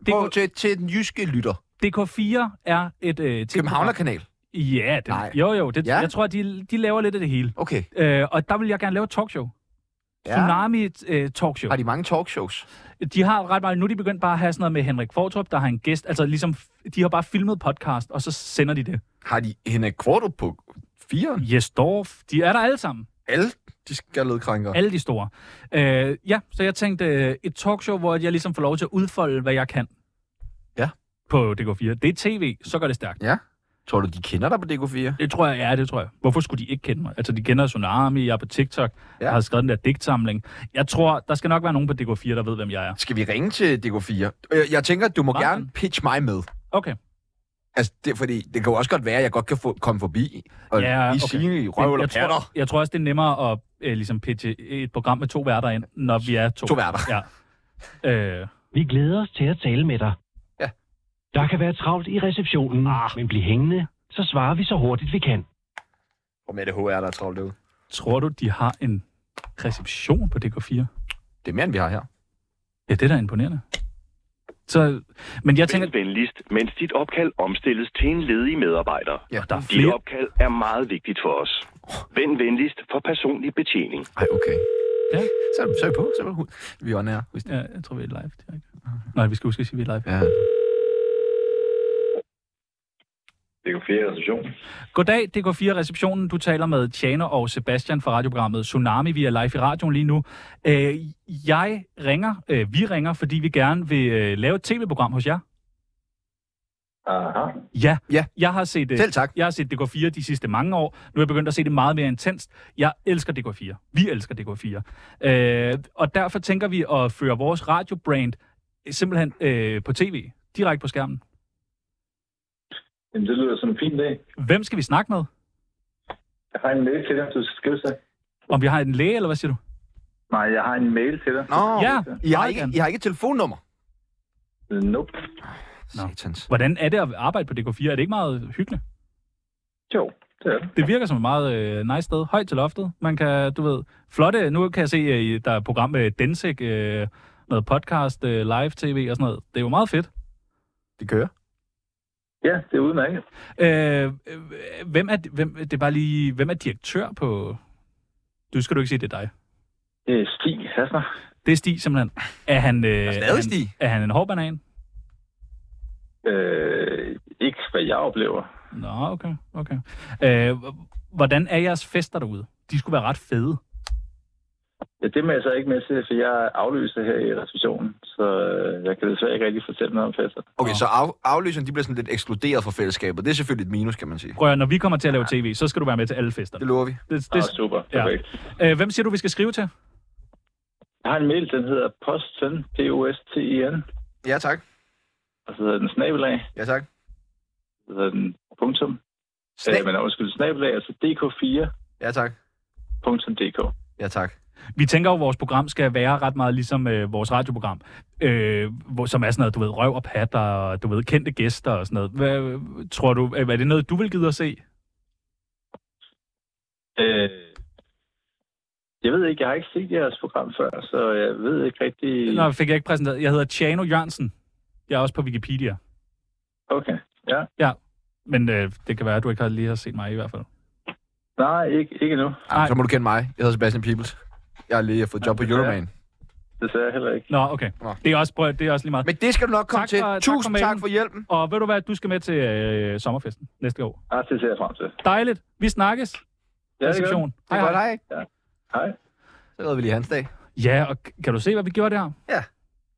Speaker 1: DK... til, til den jyske lytter.
Speaker 2: DK4 er et... Øh,
Speaker 1: Københavnerkanal?
Speaker 2: Ja, det, jo jo, det, ja. jeg tror, de, de laver lidt af det hele.
Speaker 1: Okay.
Speaker 2: Øh, og der vil jeg gerne lave et talkshow.
Speaker 1: Ja.
Speaker 2: Ja. Tsunami øh, talkshow.
Speaker 1: Har de mange talkshows?
Speaker 2: De har ret meget. Nu er de begyndt bare at have sådan noget med Henrik Fortrup, der har en gæst. Altså ligesom, f- de har bare filmet podcast, og så sender de det.
Speaker 1: Har de Henrik Kvartrup på firen?
Speaker 2: Yes, Dorf. De er der alle sammen.
Speaker 1: Alle de skaldede krænker?
Speaker 2: Alle de store. Øh, ja, så jeg tænkte øh, et talkshow, hvor jeg ligesom får lov til at udfolde, hvad jeg kan.
Speaker 1: Ja.
Speaker 2: På DK4. Det er tv, så går det stærkt.
Speaker 1: Ja. Tror du, de kender dig på DK4?
Speaker 2: Det tror jeg, ja, det tror jeg. Hvorfor skulle de ikke kende mig? Altså, de kender Tsunami, jeg er på TikTok, ja. jeg har skrevet den der digtsamling. Jeg tror, der skal nok være nogen på DK4, der ved, hvem jeg er.
Speaker 1: Skal vi ringe til DK4? Øh, Jeg tænker, at du må
Speaker 2: Meget
Speaker 1: gerne pitche mig med.
Speaker 2: Okay.
Speaker 1: Altså, det, fordi det kan jo også godt være, at jeg godt kan få, komme forbi og ja, lige okay. sige i røv eller
Speaker 2: jeg, tror,
Speaker 1: patter.
Speaker 2: jeg tror også, det er nemmere at øh, ligesom pitche et program med to værter ind, når vi er to.
Speaker 1: To værter.
Speaker 2: Ja. Øh,
Speaker 15: Vi glæder os til at tale med dig.
Speaker 1: Ja.
Speaker 15: Der kan være travlt i receptionen, ah. men bliv hængende, så svarer vi så hurtigt vi kan.
Speaker 1: Og med det HR, der er travlt derude.
Speaker 2: tror du, de har en reception på DK4?
Speaker 1: Det er mere, end vi har her.
Speaker 2: Ja, det er da imponerende. Så, men jeg tænker...
Speaker 16: Vend venligst, mens dit opkald omstilles til en ledig medarbejder.
Speaker 1: Ja,
Speaker 2: der er
Speaker 16: Dit
Speaker 2: flere.
Speaker 16: opkald er meget vigtigt for os. Vend venligst for personlig betjening.
Speaker 1: Ej, okay.
Speaker 2: Ja.
Speaker 1: Så, er- så er vi på. Så er vi på. Vi er on air. Husk det.
Speaker 2: Ja, jeg tror, vi er live direkte. Nej, vi skal huske at sige, at vi er live.
Speaker 1: Ja.
Speaker 17: DK4 reception.
Speaker 2: Goddag, DK4-receptionen. Du taler med Tjano og Sebastian fra radioprogrammet Tsunami. Vi er live i radioen lige nu. Øh, jeg ringer, øh, vi ringer, fordi vi gerne vil øh, lave et tv-program hos jer.
Speaker 17: Aha.
Speaker 2: Ja, ja. Jeg, har set, øh,
Speaker 1: Selv tak.
Speaker 2: jeg har set DK4 de sidste mange år. Nu er jeg begyndt at se det meget mere intenst. Jeg elsker DK4. Vi elsker DK4. Øh, og derfor tænker vi at føre vores radiobrand øh, simpelthen øh, på tv, direkte på skærmen.
Speaker 17: Jamen, det lyder som en fin dag.
Speaker 2: Hvem skal vi snakke med?
Speaker 17: Jeg har en mail til dig, du skal skrive til.
Speaker 2: Om vi har en læge, eller hvad siger du?
Speaker 17: Nej, jeg har en mail til dig.
Speaker 1: Nå, ja, I, har ikke, I har ikke et telefonnummer? Øh,
Speaker 17: Nope.
Speaker 2: Nå.
Speaker 1: Satans.
Speaker 2: Hvordan er det at arbejde på DK4? Er det ikke meget hyggeligt?
Speaker 17: Jo, det er det.
Speaker 2: Det virker som et meget øh, nice sted. Højt til loftet. Man kan, du ved, flotte. Nu kan jeg se, øh, der er et program med Densik, øh, noget podcast, øh, live-tv og sådan noget. Det er jo meget fedt.
Speaker 1: Det kører.
Speaker 17: Ja, det er udmærket.
Speaker 2: Øh, øh, hvem er, hvem, det er bare lige, hvem er direktør på... Du skal du ikke sige, det er dig.
Speaker 17: Det er Øh, Stig Hasner.
Speaker 2: Det er Stig simpelthen. Er han, øh, er,
Speaker 17: stadig
Speaker 2: han,
Speaker 17: Stig.
Speaker 2: er han en hård banan?
Speaker 17: Øh, ikke hvad jeg oplever.
Speaker 2: Nå, okay. okay. Øh, h- hvordan er jeres fester derude? De skulle være ret fede.
Speaker 17: Ja, det må jeg så ikke med til, for jeg er afløser her i receptionen, så øh, jeg kan desværre ikke rigtig fortælle noget om fester.
Speaker 1: Okay, så af, afløserne de bliver sådan lidt ekskluderet fra fællesskabet. Det er selvfølgelig et minus, kan man sige.
Speaker 2: Prøv at, høre, når vi kommer til at lave tv, så skal du være med til alle fester.
Speaker 1: Det lover vi.
Speaker 2: Det,
Speaker 17: Ah, super. Perfekt.
Speaker 2: Ja. Øh, hvem siger du, vi skal skrive til?
Speaker 17: Jeg har en mail, den hedder posten, P-O-S-T-I-N,
Speaker 1: Ja, tak.
Speaker 17: og så hedder den snabelag.
Speaker 1: Ja, tak.
Speaker 17: Så hedder den punktum. Snab... Øh, men undskyld, snabelag, altså dk4.
Speaker 1: Ja, tak.
Speaker 17: Punktum dk.
Speaker 1: Ja, tak.
Speaker 2: Vi tænker jo, at vores program skal være ret meget ligesom øh, vores radioprogram, øh, hvor, som er sådan noget, du ved, røv og patter, og du ved, kendte gæster og sådan noget. Hvad, tror du, øh, er det noget, du vil gide at se?
Speaker 17: Øh, Jeg ved ikke, jeg har ikke set jeres program før, så jeg ved ikke rigtig...
Speaker 2: Nå, fik jeg ikke præsenteret. Jeg hedder Tjano Jørgensen. Jeg er også på Wikipedia.
Speaker 17: Okay, ja.
Speaker 2: Ja, men øh, det kan være, at du ikke har lige har set mig i hvert fald.
Speaker 17: Nej, ikke, ikke endnu.
Speaker 1: Ej. Så må du kende mig. Jeg hedder Sebastian Peebles. Jeg har lige fået job på Euroman.
Speaker 17: Det sagde jeg heller ikke.
Speaker 2: Nå, okay. Nå. Det, er også, prøv, at- det er også lige meget. Men
Speaker 1: det skal du nok komme til. Tusind tak for
Speaker 2: hjælpen. Og ved du hvad, du skal med til øh, sommerfesten næste år.
Speaker 17: Ja, det ser jeg frem til.
Speaker 2: Dejligt. Vi snakkes.
Speaker 17: Ja, det gør
Speaker 2: Reception.
Speaker 17: vi. Det er godt, hej. Ja. Hej.
Speaker 1: Så lavede vi lige hans dag.
Speaker 2: Ja, og k- kan du se, hvad vi gjorde der?
Speaker 1: Ja.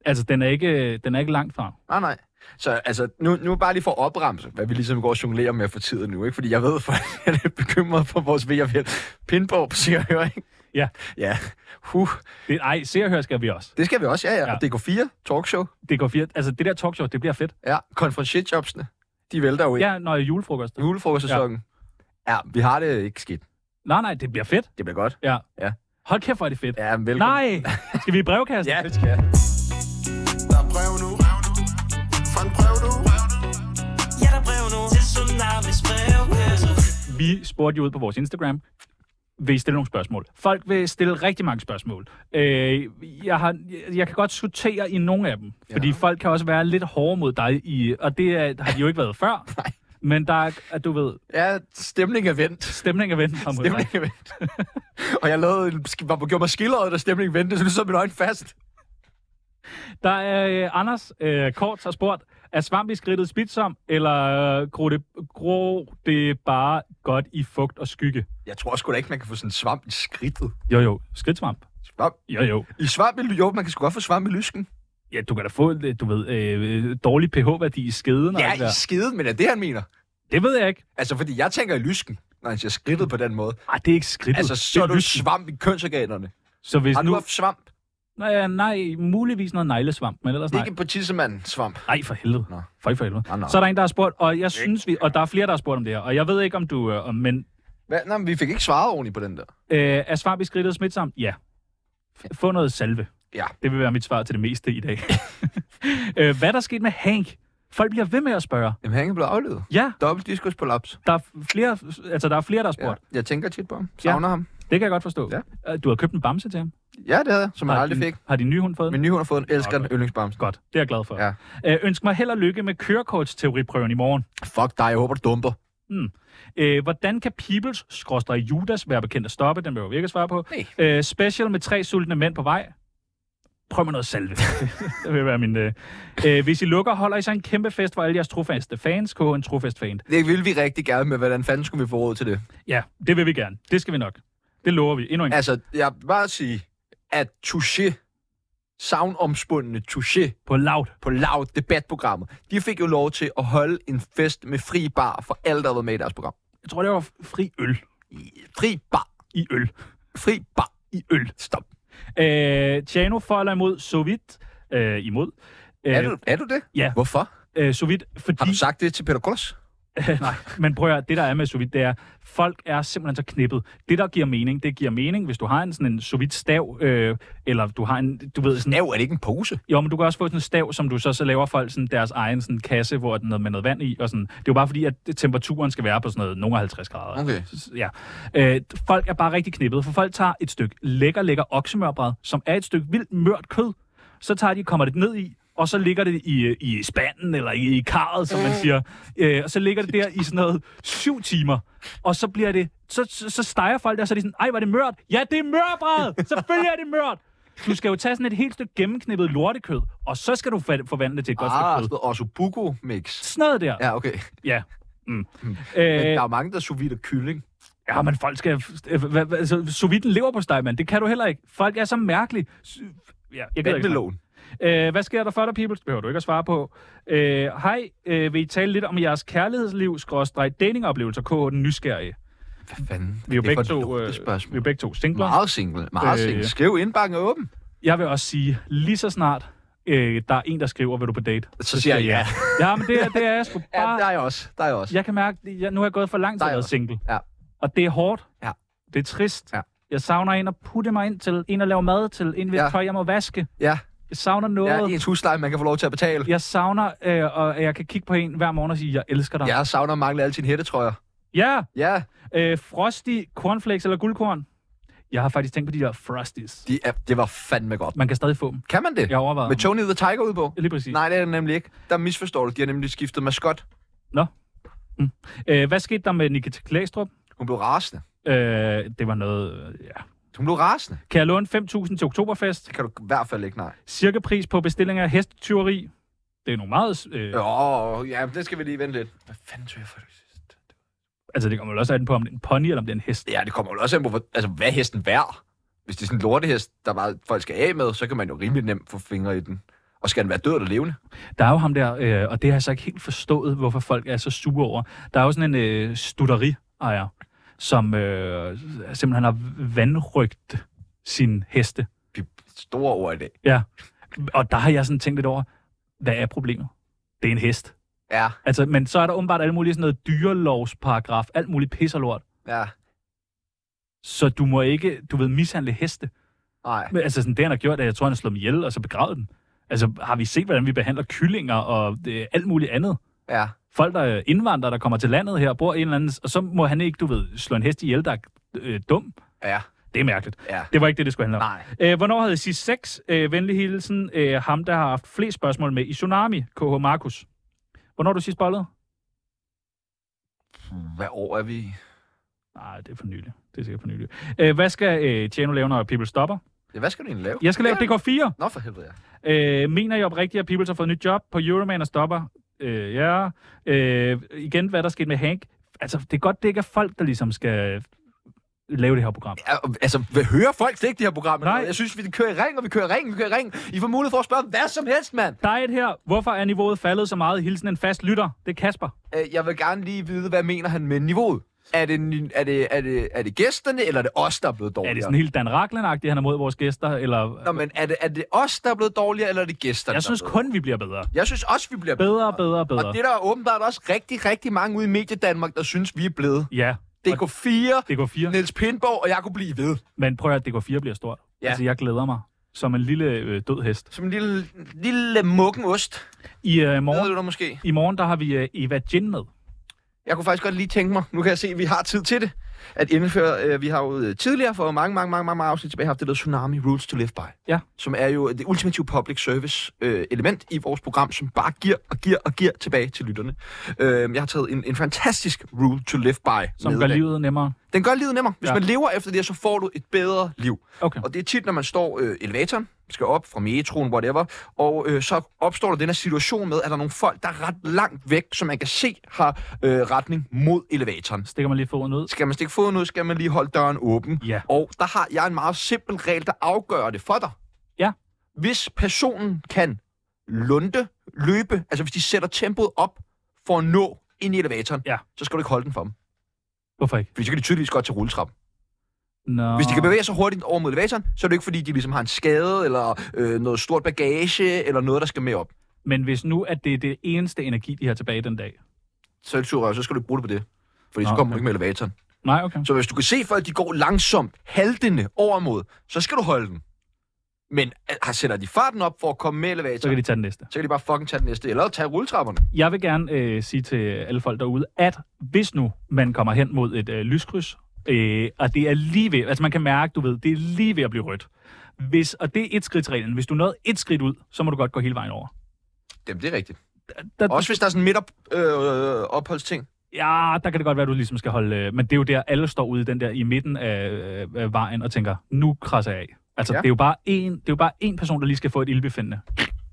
Speaker 2: Altså, den er ikke, den er ikke langt fra.
Speaker 1: Nej, nej. Så altså, nu, nu bare lige for at opremse, hvad vi ligesom går og jonglerer med for tiden nu, ikke? Fordi jeg ved, for jeg er lidt bekymret for vores VFL. Pindborg, siger jeg, ikke?
Speaker 2: Ja.
Speaker 1: Ja. Huh.
Speaker 2: Det, ej, se og hør skal vi også.
Speaker 1: Det skal vi også, ja, ja. ja. Og DK4, talkshow.
Speaker 2: DK4, altså det der talkshow, det bliver fedt.
Speaker 1: Ja, konferencejobsene, de vælter jo ind.
Speaker 2: Ja, når julefrokost.
Speaker 1: Julefrokostsæsonen. Ja. ja, vi har det ikke skidt.
Speaker 2: Nej, nej, det bliver fedt.
Speaker 1: Det bliver godt.
Speaker 2: Ja.
Speaker 1: Ja.
Speaker 2: Hold kæft, hvor er det fedt.
Speaker 1: Ja, men
Speaker 2: velkommen. Nej! Skal vi i brevkassen?
Speaker 1: ja, det skal jeg.
Speaker 4: Der er brev nu. Fra en brev nu.
Speaker 3: Ja, der er brev nu til Tsunamis brevkasse.
Speaker 2: Vi spurgte jo ud på vores Instagram, vil I stille nogle spørgsmål? Folk vil stille rigtig mange spørgsmål. Øh, jeg, har, jeg kan godt sortere i nogle af dem, fordi folk kan også være lidt hårde mod dig, i, og det er, har de jo ikke været før. Nej. Men der er, at du ved...
Speaker 1: Ja, stemning er vendt.
Speaker 2: Stemning er vendt. har man
Speaker 1: Stemning
Speaker 2: sagt.
Speaker 1: er vendt. og jeg lavede en, sk- var- gjorde mig skildret, da stemningen vendte, så nu sidder min øjne fast.
Speaker 2: Der er øh, Anders øh, Kort har spurgt, er svamp i skridtet spidsom, eller øh, gror, det, gror det bare godt i fugt og skygge?
Speaker 1: Jeg tror sgu da ikke, man kan få sådan en svamp i skridtet.
Speaker 2: Jo, jo. Skridtsvamp.
Speaker 1: Svamp?
Speaker 2: Jo, jo.
Speaker 1: I svamp i, ly- jo, man kan sgu godt få svamp i lysken.
Speaker 2: Ja, du kan da få, øh, du ved, øh, dårlig pH-værdi i skeden. og
Speaker 1: Ja,
Speaker 2: alt det
Speaker 1: i
Speaker 2: der.
Speaker 1: skiden, men er det, han mener?
Speaker 2: Det ved jeg ikke.
Speaker 1: Altså, fordi jeg tænker i lysken, når han siger skridtet på den måde.
Speaker 2: Ej, det er ikke skridtet.
Speaker 1: Altså,
Speaker 2: Det
Speaker 1: så
Speaker 2: er
Speaker 1: er du
Speaker 2: lysken.
Speaker 1: svamp i kønsorganerne.
Speaker 2: Så hvis
Speaker 1: Har du
Speaker 2: nu...
Speaker 1: haft svamp?
Speaker 2: Nej, nej, muligvis noget neglesvamp, men ellers
Speaker 1: Det er
Speaker 2: nej.
Speaker 1: ikke en partisemand-svamp.
Speaker 2: Nej, for helvede. Nå. For for helvede.
Speaker 1: Nå, nå.
Speaker 2: Så er der en, der har spurgt, og jeg synes, vi, og der er flere, der har spurgt om det her, og jeg ved ikke, om du... Øh, om- men
Speaker 1: Hvad? Nå, men vi fik ikke svaret ordentligt på den der.
Speaker 2: øh, er svamp i skridtet smitsomt? Ja. F- Få noget salve.
Speaker 1: Ja.
Speaker 2: Det vil være mit svar til det meste i dag. øh, hvad er der sket med Hank? Folk bliver ved med at spørge.
Speaker 1: Jamen, han er blevet aflevet.
Speaker 2: Ja.
Speaker 1: Dobbelt diskus på laps.
Speaker 2: Der er flere, altså, der er flere, der har spurgt.
Speaker 1: Jeg tænker tit på ham. Savner ja. ham.
Speaker 2: Det kan jeg godt forstå. Ja. Du har købt en bamse til ham.
Speaker 1: Ja, det havde jeg, som han
Speaker 2: Har
Speaker 1: aldrig
Speaker 2: din-
Speaker 1: fik.
Speaker 2: Har din nye hund fået
Speaker 1: Min nye hund har fået en elsker okay. yndlingsbamse.
Speaker 2: Godt, det er jeg glad for.
Speaker 1: Ja.
Speaker 2: Øh, ønsk mig held og lykke med kørekortsteoriprøven i morgen.
Speaker 1: Fuck dig, jeg håber, du dumper.
Speaker 2: Hmm. Øh, hvordan kan Peoples, skråstrej Judas, være bekendt at stoppe? Den behøver vi ikke at svare på. Øh, special med tre sultne mænd på vej. Prøv med noget salve. det vil være min... Øh. Øh, hvis I lukker, holder I så en kæmpe fest for alle jeres trofaste fans. K, en trofast fan.
Speaker 1: Det ville vi rigtig gerne med, hvordan fanden skulle vi få råd til det?
Speaker 2: Ja, det vil vi gerne. Det skal vi nok. Det lover vi. Endnu en gang.
Speaker 1: Altså, jeg vil bare sige, at touché, savnomspundne touché
Speaker 2: på loud.
Speaker 1: på loud debatprogrammet, de fik jo lov til at holde en fest med fri bar for alle, der var med i deres program.
Speaker 2: Jeg tror, det var fri øl.
Speaker 1: I, fri bar.
Speaker 2: I øl.
Speaker 1: Fri bar.
Speaker 2: I øl.
Speaker 1: Stop.
Speaker 2: Øh, Tjano for eller imod Sovit. Øh, imod. Øh,
Speaker 1: Er, du, er du det?
Speaker 2: Ja.
Speaker 1: Hvorfor?
Speaker 2: Øh, Sovit, fordi...
Speaker 1: Har du sagt det til Peter Kolos?
Speaker 2: Nej, men prøv at høre, det der er med sous vide, det er, folk er simpelthen så knippet. Det, der giver mening, det giver mening, hvis du har en sådan en sous vide stav, øh, eller du har en, du ved sådan...
Speaker 1: Stav, er det ikke en pose?
Speaker 2: Jo, men du kan også få sådan en stav, som du så, så laver folk sådan deres egen sådan kasse, hvor den er med noget vand i, og sådan. Det er jo bare fordi, at temperaturen skal være på sådan noget, nogle af 50 grader.
Speaker 1: Okay.
Speaker 2: S- Ja. Øh, folk er bare rigtig knippet, for folk tager et stykke lækker, lækker oksemørbræd, som er et stykke vildt mørt kød, så tager de, kommer det ned i, og så ligger det i, øh, i spanden, eller i, i karret, som
Speaker 1: Mm.
Speaker 2: man siger. Øh, og så ligger det der i sådan noget syv timer. Og så bliver det, så, så, så steger folk der, så er de sådan, ej, var det mørt? Ja, det er mørbræd! Selvfølgelig er det mørt! Du skal jo tage sådan et helt stykke gennemknippet lortekød, og så skal du fa- forvandle det til et godt stykke
Speaker 1: Ah,
Speaker 2: kød.
Speaker 1: sådan noget Ossobuco-mix.
Speaker 2: Sådan noget der.
Speaker 1: Ja, okay.
Speaker 2: Ja. Mm.
Speaker 1: Men
Speaker 2: Øh,
Speaker 1: der er jo mange, der sous vide kylling.
Speaker 2: Ja, men folk skal... øh, hvad- hvad- Altså, sous viden lever på steg, mand. Det kan du heller ikke. Folk er så mærkelige. Sy- Ja, jeg gider ikke.
Speaker 1: Vandmelon.
Speaker 2: Øh, hvad sker der for dig, people? Det behøver du ikke at svare på. Øh, Hej, øh, vil I tale lidt om jeres kærlighedsliv, skråstreg, datingoplevelser, K, den nysgerrige?
Speaker 1: Hvad fanden?
Speaker 2: Vi er jo
Speaker 1: Det er
Speaker 2: begge
Speaker 1: for et
Speaker 2: to, øh,
Speaker 1: lortespørgsmål.
Speaker 2: vi er begge to singler.
Speaker 1: Meget single. Meget
Speaker 2: Øh,
Speaker 1: single.
Speaker 2: ja.
Speaker 1: Skriv indbakken er åben.
Speaker 2: Jeg vil også sige, lige så snart øh, der er en, der skriver, vil du på date?
Speaker 1: Så siger jeg ja.
Speaker 2: Ja, men det, er- det er jeg sgu bare...
Speaker 1: Ja, der er jeg også. Der er jeg også.
Speaker 2: Jeg kan mærke, at jeg, nu har jeg gået for langt til at være single.
Speaker 1: Ja.
Speaker 2: Og det er hårdt.
Speaker 1: Ja.
Speaker 2: Det er trist.
Speaker 1: Ja.
Speaker 2: Jeg savner en at putte mig ind til, en at lave mad til, en ved
Speaker 1: Ja.
Speaker 2: ja. tøj, jeg må vaske.
Speaker 1: Ja.
Speaker 2: Jeg savner
Speaker 1: Ja,
Speaker 2: noget.
Speaker 1: ens husleje, man kan få lov til at betale.
Speaker 2: Jeg savner, øh, og jeg kan kigge på en hver morgen og sige, jeg elsker dig.
Speaker 1: Jeg savner at mangle alle sine hættetrøjer.
Speaker 2: Ja.
Speaker 1: Ja.
Speaker 2: Øh, frosty, cornflakes eller guldkorn? Jeg har faktisk tænkt på de der Frosties.
Speaker 1: De er, det var fandme godt.
Speaker 2: Man kan stadig få dem.
Speaker 1: Kan man det?
Speaker 2: Jeg overvejer.
Speaker 1: Med Tony the Tiger ud på?
Speaker 2: Lige præcis.
Speaker 1: Nej, det er det nemlig ikke. Der misforstår du. De har nemlig skiftet maskot.
Speaker 2: Nå. Mm. Øh, hvad skete der med Nikita Klæstrup?
Speaker 1: Hun blev rasende.
Speaker 2: Øh, det var noget... øh, Ja.
Speaker 1: Hun blev rasende.
Speaker 2: Kan jeg låne 5.000 til Oktoberfest? Det
Speaker 1: kan du i hvert fald ikke, nej.
Speaker 2: Cirka pris på bestillinger af hestetyveri. Det er nogle meget... Øh,
Speaker 1: Åh, oh, ja, det skal vi lige vente lidt. Hvad fanden tog jeg for det?
Speaker 2: Altså, det kommer vel også an på, om det er en pony eller om det er en hest.
Speaker 1: Ja, det kommer jo også an på, hvor- altså, hvad er hesten værd? Hvis det er sådan en lortehest, der bare folk skal af med, så kan man jo rimelig nemt få fingre i den. Og skal den være død eller levende?
Speaker 2: Der er jo ham der, øh, og det har jeg så ikke helt forstået, hvorfor folk er så sure over. Der er jo sådan en øh, studeri-ejer, som øh, simpelthen har vandrygt sin heste.
Speaker 1: Store ord i dag.
Speaker 2: Ja. Og der har jeg sådan tænkt lidt over, hvad er problemet? Det er en hest.
Speaker 1: Ja.
Speaker 2: Altså, men så er der åbenbart alle mulige sådan noget dyrelovsparagraf, alt muligt pisserlort.
Speaker 1: Ja.
Speaker 2: Så du må ikke, du ved, mishandle heste.
Speaker 1: Nej.
Speaker 2: Men, altså, sådan, det han har gjort, er, at jeg tror, han har slået dem ihjel, og så begravet dem. Altså, har vi set, hvordan vi behandler kyllinger og øh, alt muligt andet?
Speaker 1: Ja.
Speaker 2: Folk, der er indvandrere, der kommer til landet her, bor i en eller anden... Og så må han ikke, du ved, slå en hest ihjel, der er øh, dum.
Speaker 1: Ja.
Speaker 2: Det er mærkeligt.
Speaker 1: Ja.
Speaker 2: Det var ikke det, det skulle handle om.
Speaker 1: Nej.
Speaker 2: Øh, hvornår havde I sidst sex? Øh, venlig hilsen, øh, ham, der har haft flest spørgsmål med i Tsunami, KH Markus. Hvornår har du sidst bollet?
Speaker 1: Hvad år er vi i?
Speaker 2: Nej, det er for nylig. Det er sikkert for nylig. Øh, hvad skal øh, Tjano lave, når People stopper?
Speaker 1: Ja, hvad skal du egentlig lave?
Speaker 2: Jeg skal lave
Speaker 1: Ja.
Speaker 2: DK4.
Speaker 1: Nå, for helvede, ja.
Speaker 2: Øh, mener I oprigtigt, at People har fået nyt job på Euroman og stopper? Øh, ja. Øh, igen, hvad der skete med Hank. Altså, det er godt, det ikke er folk, der ligesom skal lave det her program.
Speaker 1: Ja, og- altså, hvad hører folk slet ikke det her program? Nej. Jeg synes, vi kører i ring, og vi kører i ring, vi kører i ring. I får mulighed for at spørge hvad som helst, mand.
Speaker 2: Diet her. Hvorfor er niveauet faldet så meget? Hilsen en fast lytter. Det er Kasper.
Speaker 1: Øh, Jeg vil gerne lige vide, hvad mener han med niveauet? Er det, ni- er det, er det, er det gæsterne, eller er det os, der er blevet dårligere?
Speaker 2: Er det sådan helt Dan ragland han er mod vores gæster? Eller...
Speaker 1: Nå, men er det, er det os, der er blevet dårligere, eller er det gæsterne,
Speaker 2: Jeg
Speaker 1: der er
Speaker 2: synes
Speaker 1: blevet
Speaker 2: kun, vi bliver bedre.
Speaker 1: Jeg synes også, vi bliver
Speaker 2: bedre. Bedre, bedre,
Speaker 1: Og det er der åbenbart også rigtig, rigtig mange ude i Mediedanmark, der synes, vi er blevet.
Speaker 2: Ja.
Speaker 1: DK4,
Speaker 2: DK4.
Speaker 1: Niels Pindborg, og jeg kunne blive ved.
Speaker 2: Men prøv at høre, DK4 bliver stort.
Speaker 1: Ja.
Speaker 2: Ja. Altså, jeg glæder mig. Som en lille øh, død hest.
Speaker 1: Som en lille, lille mukken ost.
Speaker 2: I, øh, morgen,
Speaker 1: Ved du måske?
Speaker 2: I morgen, der har vi øh, Eva Gin med.
Speaker 1: Jeg kunne faktisk godt lige tænke mig, nu kan jeg se, at vi har tid til det, at indføre, øh, vi har jo øh, tidligere for mange, mange, mange, mange, mange afsnit tilbage haft det der Tsunami Rules to Live By.
Speaker 2: Ja.
Speaker 1: Som er jo det ultimative public service øh, element i vores program, som bare giver og giver og giver tilbage til lytterne. Øh, jeg har taget en, en fantastisk rule to live by.
Speaker 2: Som
Speaker 1: med
Speaker 2: gør
Speaker 1: i dag.
Speaker 2: livet nemmere.
Speaker 1: Den gør livet nemmere. Hvis ja.
Speaker 2: Ja.
Speaker 1: man lever efter det, her, så får du et bedre liv.
Speaker 2: Okay.
Speaker 1: Og det er tit, når man står øh, elevatoren, skal op fra metroen, whatever, og øh, så opstår der den her situation med, at der er nogle folk, der er ret langt væk, som man kan se har øh, retning mod elevatoren.
Speaker 2: Stikker man lige foden ud?
Speaker 1: Skal man stikke foden ud, skal man lige holde døren åben.
Speaker 2: Ja.
Speaker 1: Og der har jeg en meget simpel regel, der afgør det for dig.
Speaker 2: Ja.
Speaker 1: Hvis personen kan lunde, løbe, altså hvis de sætter tempoet op for at nå ind i elevatoren,
Speaker 2: ja.
Speaker 1: så skal du ikke holde den for dem.
Speaker 2: Hvorfor ikke?
Speaker 1: Fordi så kan de tydeligvis godt til rulletrappen.
Speaker 2: Nå.
Speaker 1: Hvis de kan bevæge sig hurtigt over mod elevatoren, så er det ikke fordi, de ligesom har en skade, eller øh, noget stort bagage, eller noget, der skal med op.
Speaker 2: Men hvis nu, at det er det eneste energi, de har tilbage den dag.
Speaker 1: Så, er det sur, så skal du ikke bruge det på det. Fordi så
Speaker 2: Nå,
Speaker 1: kommer
Speaker 2: okay.
Speaker 1: du ikke med elevatoren.
Speaker 2: Nej, okay.
Speaker 1: Så hvis du kan se folk, de går langsomt, haltende over mod, så skal du holde dem. Men har sætter de farten op for at komme med elevatoren,
Speaker 2: Så kan de tage den næste.
Speaker 1: så kan de bare fucking tage den næste, eller tage rulletrapperne.
Speaker 2: Jeg vil gerne øh, sige til alle folk derude, at hvis nu man kommer hen mod et øh, lyskryds, øh, og det er lige ved, altså man kan mærke, du ved, det er lige ved at blive rødt. Hvis, og det er et skridt reglen. Hvis du nåede et skridt ud, så må du godt gå hele vejen over.
Speaker 1: Jamen, det er rigtigt.
Speaker 2: Der,
Speaker 1: Også hvis der er sådan en midtop, øh, opholdsting.
Speaker 2: Ja, der kan det godt være, at du ligesom skal holde... øh, Men det er jo der, alle står ude i den der i midten af, øh, af vejen og tænker, nu krasser jeg af. Altså,
Speaker 1: Ja.
Speaker 2: ja. det, er jo bare én, det er jo bare én person, der lige skal få et ildbefindende.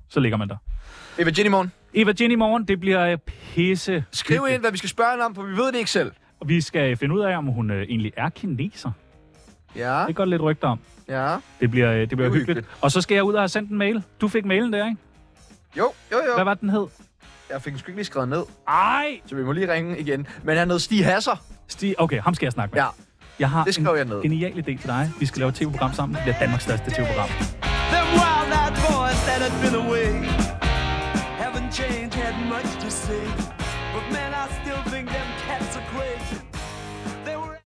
Speaker 2: Så ligger man der.
Speaker 1: Eva Jenny morgen.
Speaker 2: Eva Jenny i morgen, det bliver øh, pisse.
Speaker 1: Skriv ind, hvad vi skal spørge hende om, for vi ved det ikke selv.
Speaker 2: Og vi skal finde ud af, om hun øh, egentlig er kineser.
Speaker 1: Ja.
Speaker 2: Det er godt lidt rygter om.
Speaker 1: Ja.
Speaker 2: Det bliver, øh, det bliver
Speaker 1: er
Speaker 2: hyggeligt. hyggeligt. Og så skal jeg ud og have sendt en mail. Du fik mailen der, ikke?
Speaker 1: Jo, jo, jo.
Speaker 2: Hvad var den hed?
Speaker 1: Jeg fik den sgu ikke lige skrevet ned.
Speaker 2: Ej!
Speaker 1: Så vi må lige ringe igen. Men han hed Stig Hasser.
Speaker 2: Stig, okay, ham skal jeg snakke med.
Speaker 1: Ja.
Speaker 2: Jeg har
Speaker 1: Det
Speaker 2: en
Speaker 1: skrev jeg ned.
Speaker 2: genial idé til dig. Vi skal lave et tv-program sammen. Det bliver Danmarks største tv-program.
Speaker 18: Them wild eyed boys that had been away haven't changed, had much to say. But man, I still think them cats are crazy.